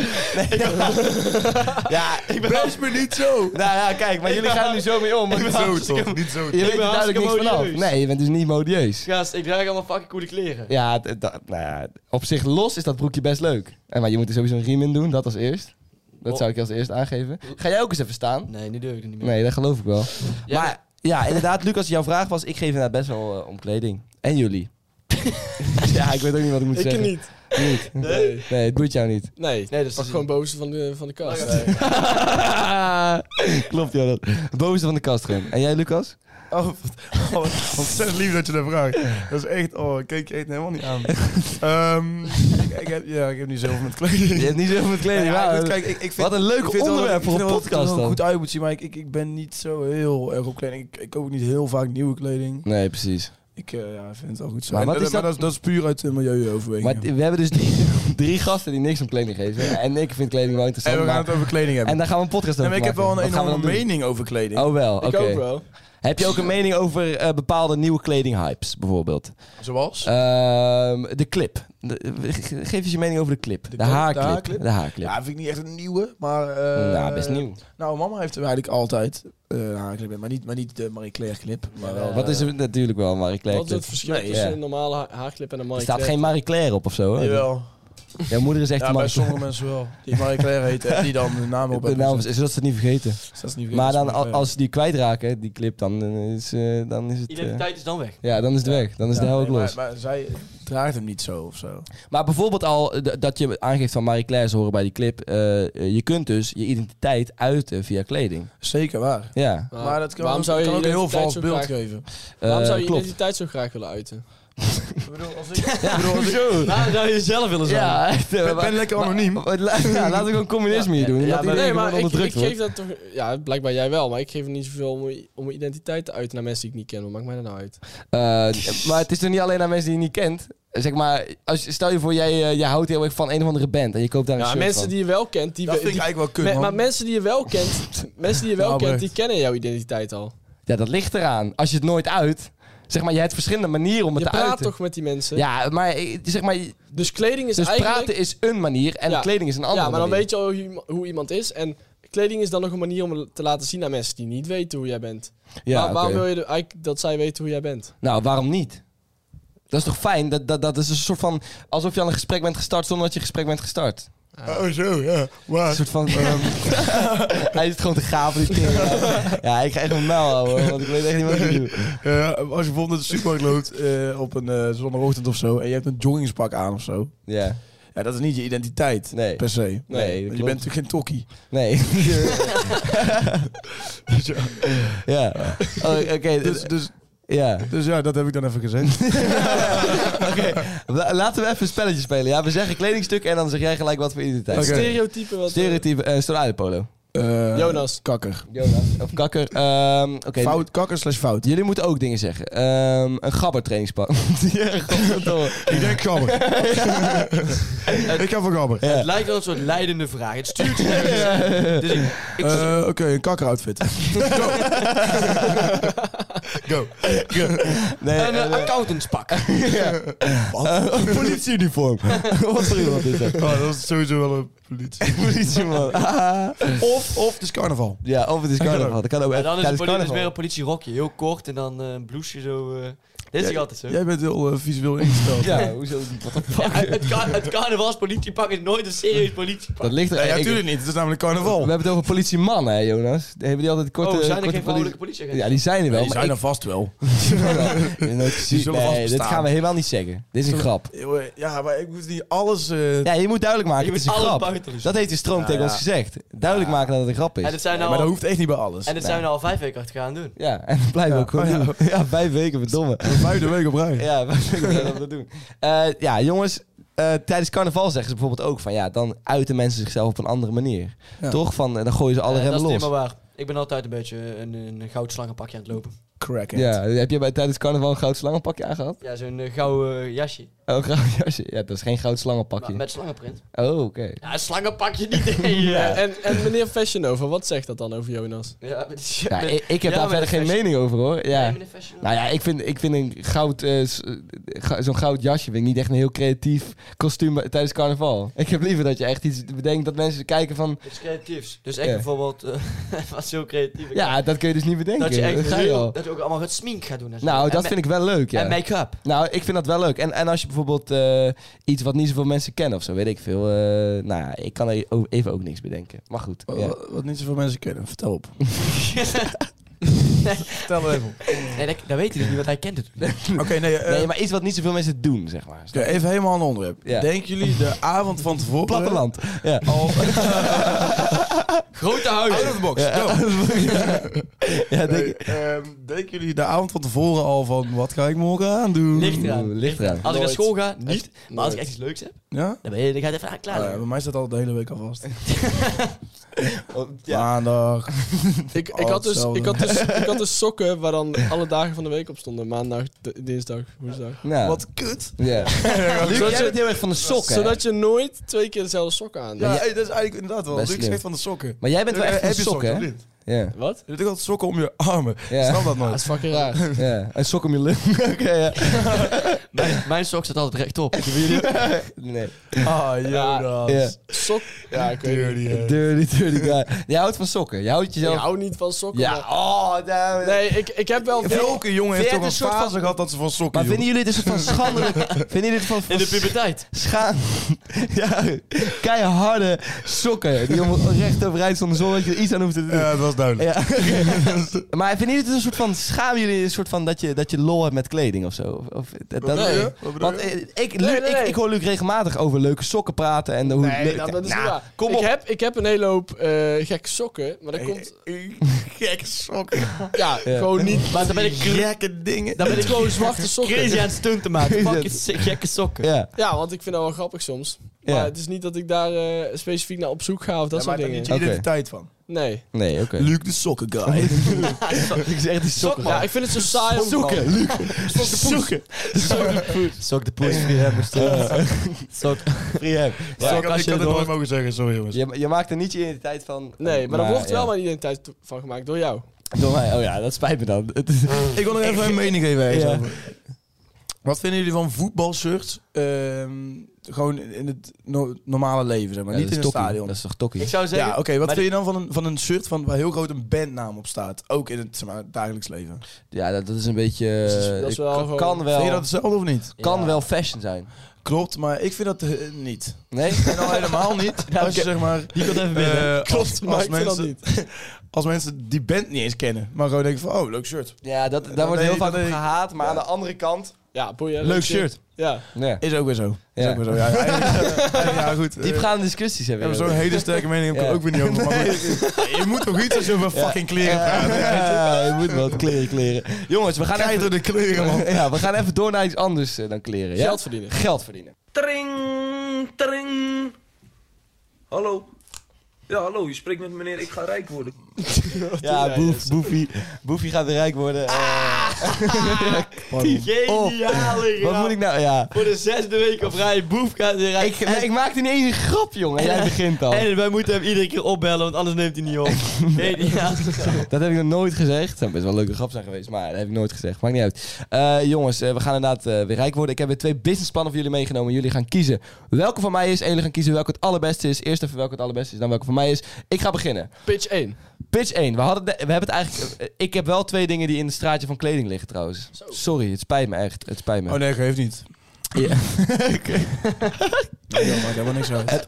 [SPEAKER 2] Ja, ik ben...
[SPEAKER 3] Best me niet zo.
[SPEAKER 2] Nou ja, kijk, maar jullie gaan er nu zo mee om. want-
[SPEAKER 3] Niet zo, toch? Niet zo.
[SPEAKER 2] Je weet er
[SPEAKER 5] ben
[SPEAKER 2] duidelijk niks
[SPEAKER 5] hartstikke
[SPEAKER 2] vanaf.
[SPEAKER 5] modieus.
[SPEAKER 2] Nee, je bent dus niet modieus.
[SPEAKER 5] Gast, ik draag allemaal fucking coole kleren.
[SPEAKER 2] Ja, d- d- nou ja, op zich los is dat broekje best leuk. En, maar je moet er sowieso een riem in doen, dat als eerst. Dat zou ik je als eerst aangeven. Ga jij ook eens even staan?
[SPEAKER 5] Nee, nu durf ik het niet meer.
[SPEAKER 2] Oh. Nee, dat geloof ik wel.
[SPEAKER 5] Ja,
[SPEAKER 2] Maar ja, inderdaad, Lucas, jouw vraag was... Ik geef inderdaad best wel eh, om kleding. En jullie. ja, ik weet ook niet wat ik moet
[SPEAKER 4] Ik
[SPEAKER 2] zeggen.
[SPEAKER 4] niet.
[SPEAKER 2] Niet.
[SPEAKER 4] Nee.
[SPEAKER 2] Nee, het boeit jou niet.
[SPEAKER 4] Nee,
[SPEAKER 2] dus-
[SPEAKER 5] Nee, dat is
[SPEAKER 4] pak gewoon boze van de, van de kast.
[SPEAKER 2] Klopt, joh. Dat. Het bovenste van de kast gewoon. En jij, Lucas?
[SPEAKER 3] Oh, wat- oh, wat ontzettend lief dat je dat vraagt. Dat is echt, oh, ik keek je echt helemaal niet aan. Ehm, ik, ik heb, ja, ik heb niet zoveel met
[SPEAKER 2] Je
[SPEAKER 3] kleding.
[SPEAKER 2] hebt niet zoveel met kleding.
[SPEAKER 3] Ja,
[SPEAKER 2] maar-
[SPEAKER 3] ik moet- kijk, ik, ik vind,
[SPEAKER 2] Wat een leuk
[SPEAKER 3] ik vind wel-
[SPEAKER 2] onderwerp
[SPEAKER 3] ik
[SPEAKER 2] voor
[SPEAKER 3] vind
[SPEAKER 2] een
[SPEAKER 3] wel dat het er
[SPEAKER 2] podcast
[SPEAKER 3] wel
[SPEAKER 2] dan.
[SPEAKER 3] goed uit moet zien, maar ik, ik, ik ben niet zo heel erg op kleding. Ik, ik koop ook niet heel vaak nieuwe kleding.
[SPEAKER 2] Nee, precies.
[SPEAKER 3] Ik eh, ja, vind het al goed zo.
[SPEAKER 2] Maar
[SPEAKER 3] En
[SPEAKER 2] wat is dat-
[SPEAKER 3] is, dat is puur uit de milieuoverweging.
[SPEAKER 2] Maar t- we hebben dus die, drie gasten die niks om kleding geven. En ik vind kleding wel interessant.
[SPEAKER 3] En we gaan
[SPEAKER 2] maar-
[SPEAKER 3] het over kleding hebben.
[SPEAKER 2] En daar gaan we een podcast
[SPEAKER 3] Nee,
[SPEAKER 2] over
[SPEAKER 3] maar ik heb wel
[SPEAKER 2] maken.
[SPEAKER 3] een
[SPEAKER 2] Wat gaan we
[SPEAKER 3] enorme
[SPEAKER 2] dan doen?
[SPEAKER 3] mening over kleding.
[SPEAKER 2] Oh wel, oké.
[SPEAKER 4] Ik ook wel.
[SPEAKER 2] Heb je ook een mening over eh, bepaalde nieuwe kledinghypes, bijvoorbeeld?
[SPEAKER 3] Zoals?
[SPEAKER 2] Oh, Ehm, de clip. De- ge- geef eens je mening over de clip. De,
[SPEAKER 3] clip,
[SPEAKER 2] haarclip.
[SPEAKER 3] de haarclip?
[SPEAKER 2] De haarclip.
[SPEAKER 3] ja, vind ik niet echt een nieuwe, maar... eh,
[SPEAKER 2] nou, best nieuw.
[SPEAKER 3] Nou, mama heeft hem eigenlijk altijd. eh nou, clip, maar, niet, maar niet de Marie Claire clip. Maar eh, wel,
[SPEAKER 2] Wat is er natuurlijk wel een Marie Claire
[SPEAKER 4] Wat is
[SPEAKER 2] clip?
[SPEAKER 4] het verschil
[SPEAKER 3] Nee,
[SPEAKER 4] tussen
[SPEAKER 2] ja.
[SPEAKER 4] een normale ha- haarclip en een
[SPEAKER 2] Er
[SPEAKER 4] Marie
[SPEAKER 2] staat
[SPEAKER 4] Claire?
[SPEAKER 2] geen Marie Claire op of zo, hè?
[SPEAKER 3] Jawel.
[SPEAKER 2] Jouw moeder is echt
[SPEAKER 3] Ja,
[SPEAKER 2] een
[SPEAKER 3] bij
[SPEAKER 2] Marie
[SPEAKER 3] sommige mensen wel. Die Marie Claire heet en die dan de naam op dus
[SPEAKER 2] De naam is, nou, zodat ze het niet vergeten.
[SPEAKER 3] Dat is niet eh.
[SPEAKER 2] Maar
[SPEAKER 3] dat is
[SPEAKER 2] dan,
[SPEAKER 3] Marie
[SPEAKER 2] al- als ze die kwijtraken, die clip, dan eh, is, eh, dan is het... eh,
[SPEAKER 5] Identiteit is dan weg.
[SPEAKER 2] ja, dan is het weg. Dan is de
[SPEAKER 3] Claire.
[SPEAKER 2] hel ook
[SPEAKER 3] Nee, maar-
[SPEAKER 2] los.
[SPEAKER 3] Maar, zij draagt hem niet zo of zo.
[SPEAKER 2] Maar bijvoorbeeld al eh, d- dat je aangeeft van Marie Claire, ze horen bij die clip. eh, eh, je kunt dus je identiteit uiten via kleding.
[SPEAKER 3] Zeker waar.
[SPEAKER 2] Ja.
[SPEAKER 4] Ah,
[SPEAKER 3] Maar dat kan,
[SPEAKER 4] waarom
[SPEAKER 3] ook-
[SPEAKER 4] zou je
[SPEAKER 3] kan ook een heel
[SPEAKER 4] identiteit
[SPEAKER 3] vals
[SPEAKER 4] zo
[SPEAKER 3] beeld
[SPEAKER 4] graag-
[SPEAKER 3] geven.
[SPEAKER 2] Eh,
[SPEAKER 4] Waarom zou je
[SPEAKER 2] klopt.
[SPEAKER 4] identiteit zo graag willen uiten?
[SPEAKER 1] Ik bedoel, als ik...
[SPEAKER 2] Ja,
[SPEAKER 4] Nou, zou je jezelf willen zijn.
[SPEAKER 2] ja echt. eh,
[SPEAKER 1] Ik
[SPEAKER 2] maar-
[SPEAKER 1] ben lekker anoniem.
[SPEAKER 2] maar- la- ja, laten we gewoon communisme hier doen.
[SPEAKER 4] Ja,
[SPEAKER 2] dat
[SPEAKER 4] maar- nee,
[SPEAKER 2] iedereen
[SPEAKER 4] maar
[SPEAKER 2] gewoon
[SPEAKER 4] ik, ik
[SPEAKER 2] onderdrukt
[SPEAKER 4] geef
[SPEAKER 2] wordt.
[SPEAKER 4] dat toch... Ja, blijkbaar jij wel, maar ik geef niet zoveel om, om mijn identiteit te uiten naar mensen die ik niet ken. Wat maakt mij dat nou uit?
[SPEAKER 2] Eh, maar het is toch niet alleen aan mensen die je niet kent? Zeg maar, als, je- stel je voor, jij, eh, jij houdt heel erg van een of andere band en je koopt daar een
[SPEAKER 4] Ja,
[SPEAKER 2] shirt
[SPEAKER 4] mensen
[SPEAKER 2] van.
[SPEAKER 4] die je wel kent, die...
[SPEAKER 1] Dat
[SPEAKER 4] we-
[SPEAKER 1] vind ik
[SPEAKER 4] die-
[SPEAKER 1] eigenlijk wel kut,
[SPEAKER 4] me-
[SPEAKER 1] man.
[SPEAKER 4] maar mensen die je wel kent, mensen die je wel
[SPEAKER 1] Nou,
[SPEAKER 4] kent,
[SPEAKER 1] Bert.
[SPEAKER 4] die kennen jouw identiteit al.
[SPEAKER 2] Ja, dat ligt eraan. Als je het nooit uit, zeg maar, je hebt verschillende manieren om het
[SPEAKER 4] Je
[SPEAKER 2] te
[SPEAKER 4] praat
[SPEAKER 2] uiten.
[SPEAKER 4] toch met die mensen?
[SPEAKER 2] Ja, maar eh, zeg maar, dus
[SPEAKER 4] Dus kleding is eigenlijk...
[SPEAKER 2] praten is een manier en
[SPEAKER 4] Ja.
[SPEAKER 2] kleding is een andere
[SPEAKER 4] Ja, maar dan
[SPEAKER 2] manier.
[SPEAKER 4] weet je al hoe, iem- hoe iemand is. En kleding is dan nog een manier om te laten zien aan mensen die niet weten hoe jij bent.
[SPEAKER 2] Ja,
[SPEAKER 4] Waar- waarom
[SPEAKER 2] oké.
[SPEAKER 4] wil je de- eigenlijk dat zij weten hoe jij bent?
[SPEAKER 2] Nou, waarom niet? Dat is toch fijn? Dat, dat, dat is een soort van... Alsof je al een gesprek bent gestart zonder dat je een gesprek bent gestart.
[SPEAKER 1] Oh, zo, ja.
[SPEAKER 2] Een
[SPEAKER 1] Waar?
[SPEAKER 2] soort van... ehm, hij is gewoon te gaaf, die kerel. Ja, ik ga echt mijn muil houden, hoor, want ik weet echt niet wat ik moet doen.
[SPEAKER 3] Eh, als je bijvoorbeeld naar de supermarkt loopt eh, op een eh, zondagochtend of zo... en je hebt een joggingspak aan of zo...
[SPEAKER 2] Ja,
[SPEAKER 3] ja, dat is niet je identiteit,
[SPEAKER 2] nee.
[SPEAKER 3] per se.
[SPEAKER 2] Nee, dat
[SPEAKER 3] Want je
[SPEAKER 2] klopt.
[SPEAKER 3] bent natuurlijk geen tokkie.
[SPEAKER 2] Nee. ja. Oh, Oké,
[SPEAKER 3] Dus,
[SPEAKER 2] dus...
[SPEAKER 3] dus,
[SPEAKER 2] Ja.
[SPEAKER 3] dus ja, dat heb ik dan even gezegd.
[SPEAKER 2] Oké, la- laten we even een spelletje spelen. Ja, we zeggen kledingstuk en dan zeg jij gelijk wat voor identiteit.
[SPEAKER 3] Oké.
[SPEAKER 4] Stereotypen wat...
[SPEAKER 2] Stereotype, eh polo.
[SPEAKER 3] Eh,
[SPEAKER 4] Jonas.
[SPEAKER 3] Kakker.
[SPEAKER 2] Jonas. Of kakker. Ehm Oké,
[SPEAKER 3] Fout, kakker slash fout.
[SPEAKER 2] Jullie moeten ook dingen zeggen. Ehm, een gabbertrainingspak. ja, godverdomme.
[SPEAKER 1] Ik denk gabber. Ik ga voor gabber.
[SPEAKER 2] Ja.
[SPEAKER 5] Het lijkt wel een soort leidende vraag. Het stuurt je
[SPEAKER 2] Ja.
[SPEAKER 5] nergens. Dus ik, ik,
[SPEAKER 3] Eh, Oké, een kakker outfit.
[SPEAKER 1] Go.
[SPEAKER 2] Nee,
[SPEAKER 5] een
[SPEAKER 2] eh,
[SPEAKER 5] eh, accountantspak.
[SPEAKER 2] eh, een politieuniform. Wat voor iemand is dat?
[SPEAKER 1] Oh, dat is sowieso wel een politie.
[SPEAKER 2] Politieman. Ah.
[SPEAKER 1] Of, of, het is carnaval.
[SPEAKER 2] ja, of het is carnaval. Dat kan ook.
[SPEAKER 5] Maar dan is
[SPEAKER 2] tijdens
[SPEAKER 5] het poli- dus
[SPEAKER 2] carnaval.
[SPEAKER 5] weer een politierokje. Heel kort en dan eh, een blouseje zo. eh. Dit is ik altijd zo.
[SPEAKER 3] Jij bent heel eh, visueel ingesteld.
[SPEAKER 2] Ja, hoezo? What the
[SPEAKER 5] Ja,
[SPEAKER 2] fuck?
[SPEAKER 5] het, ka het carnavalspolitiepak is nooit een serieus politiepak.
[SPEAKER 2] Dat ligt er...
[SPEAKER 1] Nee, ja,
[SPEAKER 2] ik-
[SPEAKER 1] natuurlijk niet. Het is namelijk
[SPEAKER 2] we
[SPEAKER 1] carnaval.
[SPEAKER 2] hebben het over politieman, hè, Jonas? Hebben die altijd korte...
[SPEAKER 5] oh, zijn er
[SPEAKER 2] korte
[SPEAKER 5] geen
[SPEAKER 2] politie-
[SPEAKER 5] vrouwelijke politieagenten?
[SPEAKER 2] Ja, die zijn er wel.
[SPEAKER 3] die
[SPEAKER 2] maar
[SPEAKER 3] zijn
[SPEAKER 2] ik-
[SPEAKER 3] er vast wel.
[SPEAKER 2] Ja, nooit gezien.
[SPEAKER 3] Die zullen vast
[SPEAKER 2] Nee, dit
[SPEAKER 3] bestaan.
[SPEAKER 2] gaan we helemaal niet zeggen. Dit is een grap.
[SPEAKER 1] Ja, maar ik moet niet alles... eh,
[SPEAKER 2] Ja, je moet duidelijk maken,
[SPEAKER 5] je
[SPEAKER 2] het is
[SPEAKER 5] moet
[SPEAKER 2] een
[SPEAKER 5] alles
[SPEAKER 2] grap.
[SPEAKER 5] buiten doen.
[SPEAKER 2] Dat heeft de stroom
[SPEAKER 3] Ja,
[SPEAKER 2] tegen
[SPEAKER 3] ja.
[SPEAKER 2] ons gezegd. Duidelijk maken dat het een grap is.
[SPEAKER 5] En dat zijn
[SPEAKER 3] Nee,
[SPEAKER 5] nou
[SPEAKER 3] maar dat
[SPEAKER 5] al,
[SPEAKER 3] hoeft echt niet bij alles.
[SPEAKER 5] en dat zijn we nou al vijf weken achter gaan doen.
[SPEAKER 2] Ja, en dat blijven we ook gewoon
[SPEAKER 3] Oh, ja.
[SPEAKER 2] doen. Ja, vijf weken, verdomme.
[SPEAKER 3] Vijfde week op rij.
[SPEAKER 2] Ja, vijf weken blijven we dat doen. Eh, ja, jongens, eh, tijdens carnaval zeggen ze bijvoorbeeld ook van... ja, dan uiten mensen zichzelf op een andere manier.
[SPEAKER 3] Ja.
[SPEAKER 2] Toch? Van, eh, dan gooien ze alle
[SPEAKER 5] Eh, dat
[SPEAKER 2] remmen
[SPEAKER 5] is niet
[SPEAKER 2] los.
[SPEAKER 5] helemaal waar. Ik ben altijd een beetje eh, een, een goud slangenpakje aan het lopen.
[SPEAKER 3] Crackhead.
[SPEAKER 2] Ja, heb je bij, tijdens carnaval een goud slangenpakje aangehad?
[SPEAKER 5] Ja, zo'n eh, gouden eh, jasje.
[SPEAKER 2] Oh, een goud jasje. Ja, dat is geen goud
[SPEAKER 5] Maar
[SPEAKER 2] slangenpakje.
[SPEAKER 5] met slangenprint.
[SPEAKER 2] Oh, oké.
[SPEAKER 5] Ja, een slangenpakje niet. hè.
[SPEAKER 4] Ja, en, en meneer Fashion Over, wat zegt dat dan over Jonas?
[SPEAKER 5] Ja, met-
[SPEAKER 2] Ja,
[SPEAKER 5] met-
[SPEAKER 2] ik, ik heb
[SPEAKER 5] ja,
[SPEAKER 2] daar
[SPEAKER 5] met
[SPEAKER 2] verder
[SPEAKER 5] een
[SPEAKER 2] geen
[SPEAKER 5] fashion-
[SPEAKER 2] mening over, hoor. Ja.
[SPEAKER 5] Nee, met een fashion-
[SPEAKER 2] Nou ja, ik vind, ik vind een goud, eh, s- eh, ga- zo'n goud jasje vind ik niet echt een heel creatief kostuum bij- tijdens carnaval. Ik heb liever dat je echt iets bedenkt dat mensen kijken van...
[SPEAKER 5] Iets creatiefs. Dus echt
[SPEAKER 2] Ja.
[SPEAKER 5] bijvoorbeeld, eh, wat zo creatief. is.
[SPEAKER 2] Ja, dat kun je dus niet bedenken.
[SPEAKER 5] dat je echt
[SPEAKER 2] ga je al.
[SPEAKER 5] dat je ook allemaal het smink gaat doen. en zo.
[SPEAKER 2] Nou,
[SPEAKER 5] En
[SPEAKER 2] dat
[SPEAKER 5] ma-
[SPEAKER 2] vind ik wel leuk, ja.
[SPEAKER 5] En make-up.
[SPEAKER 2] Nou, ik vind dat wel leuk. En, en als je bijvoorbeeld eh, iets wat niet zoveel mensen kennen of zo, weet ik veel. eh, nou, ja, ik kan er o- even ook niks bedenken. Maar goed.
[SPEAKER 3] Wat,
[SPEAKER 2] ja.
[SPEAKER 3] wat- wat niet zoveel mensen kennen. Vertel op. Vertel even op.
[SPEAKER 5] nee, dat, dat weet hij dus niet, want hij kent het.
[SPEAKER 3] Oké, nee. eh,
[SPEAKER 2] Nee, maar iets wat niet zoveel mensen doen, zeg maar.
[SPEAKER 3] oké, even helemaal een onderwerp.
[SPEAKER 2] Ja.
[SPEAKER 3] Denken jullie de avond van tevoren...
[SPEAKER 2] Platteland. Ja.
[SPEAKER 3] Al...
[SPEAKER 5] Grote huis.
[SPEAKER 3] Out of the box.
[SPEAKER 2] Ja,
[SPEAKER 3] go.
[SPEAKER 2] ja, denk
[SPEAKER 3] Nee,
[SPEAKER 2] ik.
[SPEAKER 3] ehm, denken jullie de avond van tevoren al van... Wat ga ik morgen aan doen?
[SPEAKER 5] Ligt eraan.
[SPEAKER 2] Oeh, ligt eraan.
[SPEAKER 5] Als ik naar
[SPEAKER 4] Nooit.
[SPEAKER 5] school ga, niet. maar als ik
[SPEAKER 4] nooit.
[SPEAKER 5] echt iets leuks heb,
[SPEAKER 3] Ja?
[SPEAKER 5] dan ben je, dan ga je het even aan
[SPEAKER 3] Ah,
[SPEAKER 5] klaar.
[SPEAKER 3] ja, bij mij staat al de hele week alvast.
[SPEAKER 2] Oh, ja.
[SPEAKER 3] Maandag.
[SPEAKER 4] Ik, ik,
[SPEAKER 3] Oh,
[SPEAKER 4] had dus,
[SPEAKER 3] hetzelfde.
[SPEAKER 4] ik, had dus, ik had dus sokken waar dan alle dagen van de week op stonden. Maandag, d- dinsdag, woensdag.
[SPEAKER 2] Nou,
[SPEAKER 3] Wat kut.
[SPEAKER 2] Ja. Luc,
[SPEAKER 4] Zodat
[SPEAKER 2] jij
[SPEAKER 4] je-
[SPEAKER 2] bent heel erg van de sokken. hè?
[SPEAKER 4] Zodat je nooit twee keer dezelfde sokken aan
[SPEAKER 3] Ja,
[SPEAKER 4] doet.
[SPEAKER 3] hey, dat is eigenlijk inderdaad wel.
[SPEAKER 2] Best
[SPEAKER 3] Luc
[SPEAKER 2] slim.
[SPEAKER 3] zegt van de sokken.
[SPEAKER 2] Maar jij bent wel
[SPEAKER 1] Eh,
[SPEAKER 2] echt van
[SPEAKER 1] heb
[SPEAKER 2] de
[SPEAKER 1] je
[SPEAKER 2] sokken, hè?
[SPEAKER 1] of niet?
[SPEAKER 2] Ja.
[SPEAKER 4] Wat?
[SPEAKER 3] Je doet altijd sokken om je armen. Snap
[SPEAKER 2] Ja.
[SPEAKER 3] dat
[SPEAKER 4] Dat
[SPEAKER 3] nooit.
[SPEAKER 4] is fucking raar.
[SPEAKER 2] ja. Een sok om je lul. Oké, ja.
[SPEAKER 5] Mijn, mijn sok staat altijd rechtop.
[SPEAKER 2] Nee.
[SPEAKER 3] Ah,
[SPEAKER 2] Ja.
[SPEAKER 3] Jonas.
[SPEAKER 4] Sok. Ja, ik weet niet.
[SPEAKER 1] Dirty, eh.
[SPEAKER 2] Dirty, dirty guy. Je houdt van sokken. Je houdt
[SPEAKER 4] Ik
[SPEAKER 2] jezelf...
[SPEAKER 4] hou niet van sokken.
[SPEAKER 2] Ja,
[SPEAKER 4] maar-
[SPEAKER 2] oh, daar...
[SPEAKER 4] Nee, ik, ik heb wel veel...
[SPEAKER 3] Elke jongen heeft
[SPEAKER 2] jij
[SPEAKER 3] toch
[SPEAKER 2] het
[SPEAKER 3] een
[SPEAKER 2] een soort
[SPEAKER 3] fase
[SPEAKER 2] van-
[SPEAKER 3] gehad dat ze van sokken
[SPEAKER 2] Maar
[SPEAKER 3] hield?
[SPEAKER 2] vinden jullie dit een soort van schandelijk... vinden jullie dit van, van
[SPEAKER 5] In de puberteit.
[SPEAKER 2] scha- ja, keiharde sokken die om recht overeind stonden zonder dat je er iets aan hoeft te doen.
[SPEAKER 1] Ja, dat was was duidelijk.
[SPEAKER 2] Ja. maar vinden jullie het een soort van schaam jullie een soort van dat je, dat je lol hebt met kleding of zo? Of, of- dat, dat-
[SPEAKER 4] Nee.
[SPEAKER 1] Wat bedoel
[SPEAKER 2] Want
[SPEAKER 1] je?
[SPEAKER 2] eh, ik,
[SPEAKER 4] Nee,
[SPEAKER 2] Luc-
[SPEAKER 4] nee,
[SPEAKER 2] Ik,
[SPEAKER 4] nee.
[SPEAKER 2] ik hoor Luc regelmatig over leuke sokken praten en hoe
[SPEAKER 4] Nee,
[SPEAKER 2] leuk-
[SPEAKER 4] dat, dat is
[SPEAKER 2] Nou,
[SPEAKER 4] niet waar.
[SPEAKER 2] Kom
[SPEAKER 4] ik,
[SPEAKER 2] op.
[SPEAKER 4] Heb, ik heb een hele hoop eh, gekke sokken, maar dat komt...
[SPEAKER 1] Gekke sokken.
[SPEAKER 4] eh, Ja, gewoon niet...
[SPEAKER 5] Maar dan ben ik
[SPEAKER 1] Gekke dingen.
[SPEAKER 4] Dan ben ik gewoon zwarte sokken.
[SPEAKER 5] crazy aan het stunten maken. Fuck it, gekke sokken.
[SPEAKER 2] Ja,
[SPEAKER 4] Ja, want ik vind dat wel grappig soms.
[SPEAKER 2] Ja.
[SPEAKER 4] Maar het is niet dat ik daar eh, specifiek naar op zoek ga of dat
[SPEAKER 3] maar
[SPEAKER 4] soort
[SPEAKER 3] daar
[SPEAKER 4] dingen.
[SPEAKER 3] niet je
[SPEAKER 2] Oké.
[SPEAKER 3] identiteit van.
[SPEAKER 4] Nee.
[SPEAKER 2] nee, oké.
[SPEAKER 3] Luc de sokken guy.
[SPEAKER 2] ik zeg die sokken.
[SPEAKER 4] Ah, Ja, ik vind het zo saai om...
[SPEAKER 2] Sokken, Luc. Sokken.
[SPEAKER 5] Sok de poes, free hem. Sok
[SPEAKER 2] Free hem.
[SPEAKER 1] Ja,
[SPEAKER 2] Sok
[SPEAKER 1] ik had,
[SPEAKER 2] als
[SPEAKER 1] ik
[SPEAKER 2] je
[SPEAKER 1] had het
[SPEAKER 2] door-
[SPEAKER 1] nooit mogen zeggen, sorry jongens.
[SPEAKER 2] Je, je maakt er niet je identiteit van.
[SPEAKER 4] Nee, maar daar wordt
[SPEAKER 2] ja.
[SPEAKER 4] wel mijn identiteit to- van gemaakt door jou.
[SPEAKER 2] Door mij. Oh ja, dat spijt me dan.
[SPEAKER 3] Ik wil nog even mijn mening geven. hè,
[SPEAKER 2] Ja.
[SPEAKER 3] over. Wat vinden jullie van voetbalshirts? Ehm, gewoon in het no- normale leven, zeg maar. Niet in het stadion.
[SPEAKER 2] Dat is toch tokkie?
[SPEAKER 5] Ik zou
[SPEAKER 3] Ja,
[SPEAKER 5] zeggen,
[SPEAKER 3] oké. wat
[SPEAKER 5] maar
[SPEAKER 3] vind je dan van een, van een shirt van waar heel groot een bandnaam op staat? Ook in het zeg maar, dagelijks leven.
[SPEAKER 2] Ja, dat, dat is een beetje...
[SPEAKER 4] is- dat is
[SPEAKER 2] eh,
[SPEAKER 4] wel
[SPEAKER 2] kan-
[SPEAKER 4] gewoon-
[SPEAKER 2] kan
[SPEAKER 3] Vind
[SPEAKER 2] wel,
[SPEAKER 3] je dat hetzelfde of niet?
[SPEAKER 2] kan
[SPEAKER 5] Ja.
[SPEAKER 2] wel fashion zijn.
[SPEAKER 3] Klopt, maar ik vind dat eh, niet.
[SPEAKER 2] Nee?
[SPEAKER 3] En al helemaal niet.
[SPEAKER 5] Ja,
[SPEAKER 3] Als je
[SPEAKER 5] oké.
[SPEAKER 3] zeg maar...
[SPEAKER 5] die komt even binnen.
[SPEAKER 3] eh, als-
[SPEAKER 4] maar
[SPEAKER 3] als
[SPEAKER 4] ik vind dat
[SPEAKER 3] mensen- Als mensen die band niet eens kennen, maar gewoon denken van, oh, leuk shirt.
[SPEAKER 2] Ja, dat, daar
[SPEAKER 3] Dan
[SPEAKER 2] wordt heel
[SPEAKER 3] nee,
[SPEAKER 2] vaak
[SPEAKER 3] dan
[SPEAKER 2] op
[SPEAKER 3] nee.
[SPEAKER 2] gehaat, maar aan de andere kant...
[SPEAKER 4] Ja, boeien. Ja.
[SPEAKER 2] Nee.
[SPEAKER 3] Is ook weer zo. Is
[SPEAKER 2] Ja.
[SPEAKER 3] ook weer zo. Ja, eigenlijk- ja goed. eh,
[SPEAKER 2] Diepgaande discussies
[SPEAKER 3] We
[SPEAKER 2] hebben
[SPEAKER 3] hebben zo'n hele sterke mening, heb ik
[SPEAKER 2] Ja.
[SPEAKER 3] ook weer niet over. Maar goed. je moet toch iets als je over
[SPEAKER 2] Ja.
[SPEAKER 3] fucking kleren
[SPEAKER 2] Ja,
[SPEAKER 3] praten.
[SPEAKER 2] ja, je moet wat kleren, kleren. Jongens, we gaan,
[SPEAKER 3] Kijk
[SPEAKER 2] even,
[SPEAKER 3] door de kleren, man.
[SPEAKER 2] ja, we gaan even door naar iets anders eh, dan kleren. Ja?
[SPEAKER 4] Geld verdienen.
[SPEAKER 2] Geld verdienen.
[SPEAKER 7] Tring, tring. Hallo. Ja, hallo, je spreekt met meneer Ik ga rijk worden.
[SPEAKER 2] Ja, boef, boefie, boefie gaat weer rijk worden. eh.
[SPEAKER 5] Geniale
[SPEAKER 2] wat
[SPEAKER 5] grap.
[SPEAKER 2] moet ik nou... Ja.
[SPEAKER 5] Voor de zesde week op rij, boef gaat weer rijden.
[SPEAKER 2] Ik, ik maak niet eens een grap, jongen. En jij begint al.
[SPEAKER 5] En wij moeten hem iedere keer opbellen, want anders neemt hij niet op. Geniaal.
[SPEAKER 2] Dat heb ik nog nooit gezegd. Het zou best wel een leuke grap zijn geweest, maar dat heb ik nooit gezegd. Maakt niet uit. Eh, jongens, eh, we gaan inderdaad eh, weer rijk worden. Ik heb weer twee businessplannen voor jullie meegenomen. Jullie gaan kiezen welke van mij is. En jullie gaan kiezen welke het allerbeste is. Eerst even welke het allerbeste is, dan welke van mij is. Ik ga beginnen.
[SPEAKER 4] Pitch 1.
[SPEAKER 2] Pitch 1. We, hadden de- we hebben het eigenlijk... eh, ik heb wel twee dingen die in het straatje van kleding liggen trouwens. Sorry, het spijt me echt. Het spijt me.
[SPEAKER 3] Oh nee, geeft niet.
[SPEAKER 2] Ja.
[SPEAKER 3] Nee, joh, maar daar wordt niks uit.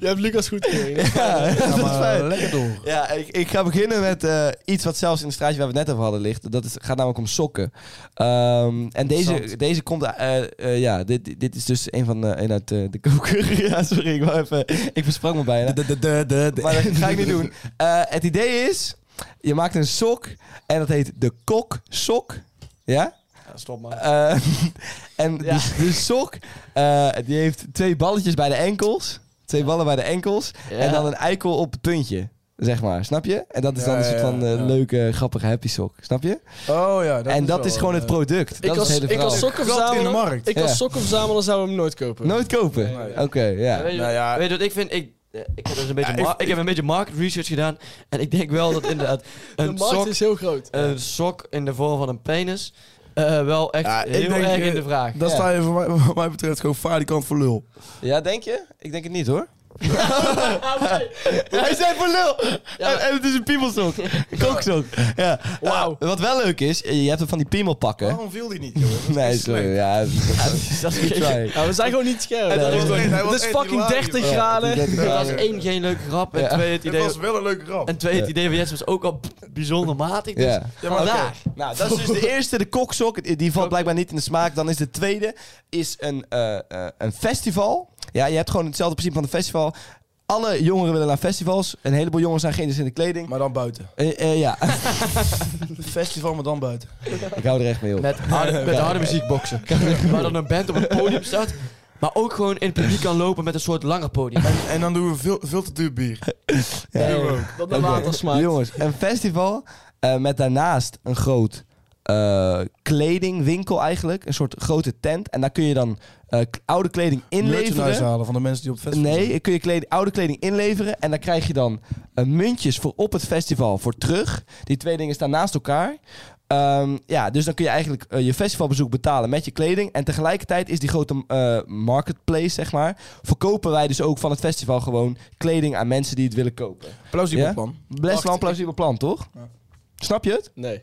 [SPEAKER 4] Je hebt Lucas goed gekregen.
[SPEAKER 3] Ga
[SPEAKER 2] dat is fijn.
[SPEAKER 3] maar lekker door.
[SPEAKER 2] Ja, ik, ik ga beginnen met eh, iets wat zelfs in de straatje waar we het net over hadden ligt. Dat is, gaat namelijk om sokken. Ehm, en deze,
[SPEAKER 3] Interessant.
[SPEAKER 2] deze komt... eh, eh, ja, dit, dit- dit is dus een van de, een uit eh, de koker. ja, sorry, ik wou even... Ik versprang me bijna.
[SPEAKER 3] De, de, de, de, Eh, de.
[SPEAKER 2] Maar dat ga ik niet doen. Eh, het idee is, je maakt een sok en dat heet de koksok. Ja?
[SPEAKER 4] Stop maar.
[SPEAKER 2] Eh, en die, die sok, eh, die heeft twee balletjes bij de enkels. Twee ballen bij de enkels. En dan een eikel op het puntje. Zeg maar, snap je? En dat is dan
[SPEAKER 3] Ja,
[SPEAKER 2] een soort
[SPEAKER 3] ja,
[SPEAKER 2] van eh,
[SPEAKER 3] ja.
[SPEAKER 2] leuke, grappige happy sok. Snap je?
[SPEAKER 3] Oh ja.
[SPEAKER 2] en dat
[SPEAKER 3] wel,
[SPEAKER 2] is gewoon
[SPEAKER 3] eh,
[SPEAKER 2] het product.
[SPEAKER 4] Ik
[SPEAKER 2] dat
[SPEAKER 4] als,
[SPEAKER 2] is het hele
[SPEAKER 4] ik als
[SPEAKER 2] verhaal.
[SPEAKER 3] Gat in de
[SPEAKER 4] sokkenverzamelaar...
[SPEAKER 3] markt.
[SPEAKER 4] Ik als
[SPEAKER 2] Ja.
[SPEAKER 4] sokkenverzamelaar zou hem nooit kopen.
[SPEAKER 2] Nooit kopen?
[SPEAKER 3] Nee.
[SPEAKER 2] Oké, ja.
[SPEAKER 5] Weet je,
[SPEAKER 3] Nou ja.
[SPEAKER 5] weet je wat ik vind? Ik, eh, ik, heb dus een beetje
[SPEAKER 3] Ja, ik-
[SPEAKER 5] mar- ik heb een beetje market research gedaan. En ik denk wel dat inderdaad
[SPEAKER 4] De
[SPEAKER 5] een
[SPEAKER 4] markt
[SPEAKER 5] sok,
[SPEAKER 4] is heel groot.
[SPEAKER 3] Eh,
[SPEAKER 5] een sok in de vorm van een penis eh, wel echt
[SPEAKER 3] Ja, ik
[SPEAKER 5] heel
[SPEAKER 3] denk,
[SPEAKER 5] erg
[SPEAKER 3] eh,
[SPEAKER 5] in de vraag.
[SPEAKER 3] Dan
[SPEAKER 2] Ja.
[SPEAKER 3] sta je voor mij, wat mij betreft gewoon falikant voor lul.
[SPEAKER 2] Ja, denk je? Ik denk het niet hoor. Hij zei voor lul! En, en het is een piemelsok. Een Koksok. Ja.
[SPEAKER 4] Wauw.
[SPEAKER 2] Eh, wat wel leuk is, je hebt hem van die piemelpakken.
[SPEAKER 3] Waarom viel die niet, joh?
[SPEAKER 2] Nee, sorry. Ja, dat is
[SPEAKER 5] Dat is
[SPEAKER 2] good
[SPEAKER 5] geen-
[SPEAKER 2] try.
[SPEAKER 4] Ja, we zijn gewoon niet scherp.
[SPEAKER 2] dat is-
[SPEAKER 4] Het is fucking 30 graden.
[SPEAKER 2] Ja,
[SPEAKER 5] Het was één, geen leuke grap. En
[SPEAKER 2] Ja.
[SPEAKER 5] twee, het
[SPEAKER 1] Het
[SPEAKER 5] idee,
[SPEAKER 1] was wel een leuke grap.
[SPEAKER 5] en twee, het idee van Jets was ook al bijzonder matig. Dus
[SPEAKER 2] Ja.
[SPEAKER 5] ja, maar daar.
[SPEAKER 2] Nou, dat is dus de eerste, de koksok. Die valt blijkbaar niet in de smaak. Dan is de tweede is een, eh, eh, een festival. Ja, je hebt gewoon hetzelfde principe van een festival. Alle jongeren willen naar festivals. Een heleboel jongeren zijn geïnteresseerd in de kleding.
[SPEAKER 3] Maar dan buiten.
[SPEAKER 2] Eh, eh, ja,
[SPEAKER 3] Festival, maar dan buiten.
[SPEAKER 2] ik hou er echt mee op.
[SPEAKER 5] Dus Met harde, met harde muziek boksen. Waar dan een band op het podium staat. Maar ook gewoon in het publiek kan lopen met een soort langer podium.
[SPEAKER 1] En dan doen we veel, veel te duur bier.
[SPEAKER 2] Ja.
[SPEAKER 4] Dat naar
[SPEAKER 2] Oké.
[SPEAKER 4] water smaakt.
[SPEAKER 2] Jongens, een festival eh, met daarnaast een groot eh, kledingwinkel eigenlijk. Een soort grote tent. En daar kun je dan eh, k- oude kleding
[SPEAKER 3] Merchandise
[SPEAKER 2] inleveren.
[SPEAKER 3] halen van de mensen die op het festival
[SPEAKER 2] Nee, je kun je kleding, oude kleding inleveren. En daar krijg je dan eh, muntjes voor op het festival voor terug. Die twee dingen staan naast elkaar. Ehm, ja, dus dan kun je eigenlijk eh, je festivalbezoek betalen met je kleding. En tegelijkertijd is die grote eh, marketplace, zeg maar. Verkopen wij dus ook van het festival gewoon kleding aan mensen die het willen kopen.
[SPEAKER 3] zijn. Plausibel
[SPEAKER 2] Ja?
[SPEAKER 3] plan.
[SPEAKER 2] Best wel een plausibel plan, toch?
[SPEAKER 3] Ja.
[SPEAKER 2] Snap je het?
[SPEAKER 4] Nee.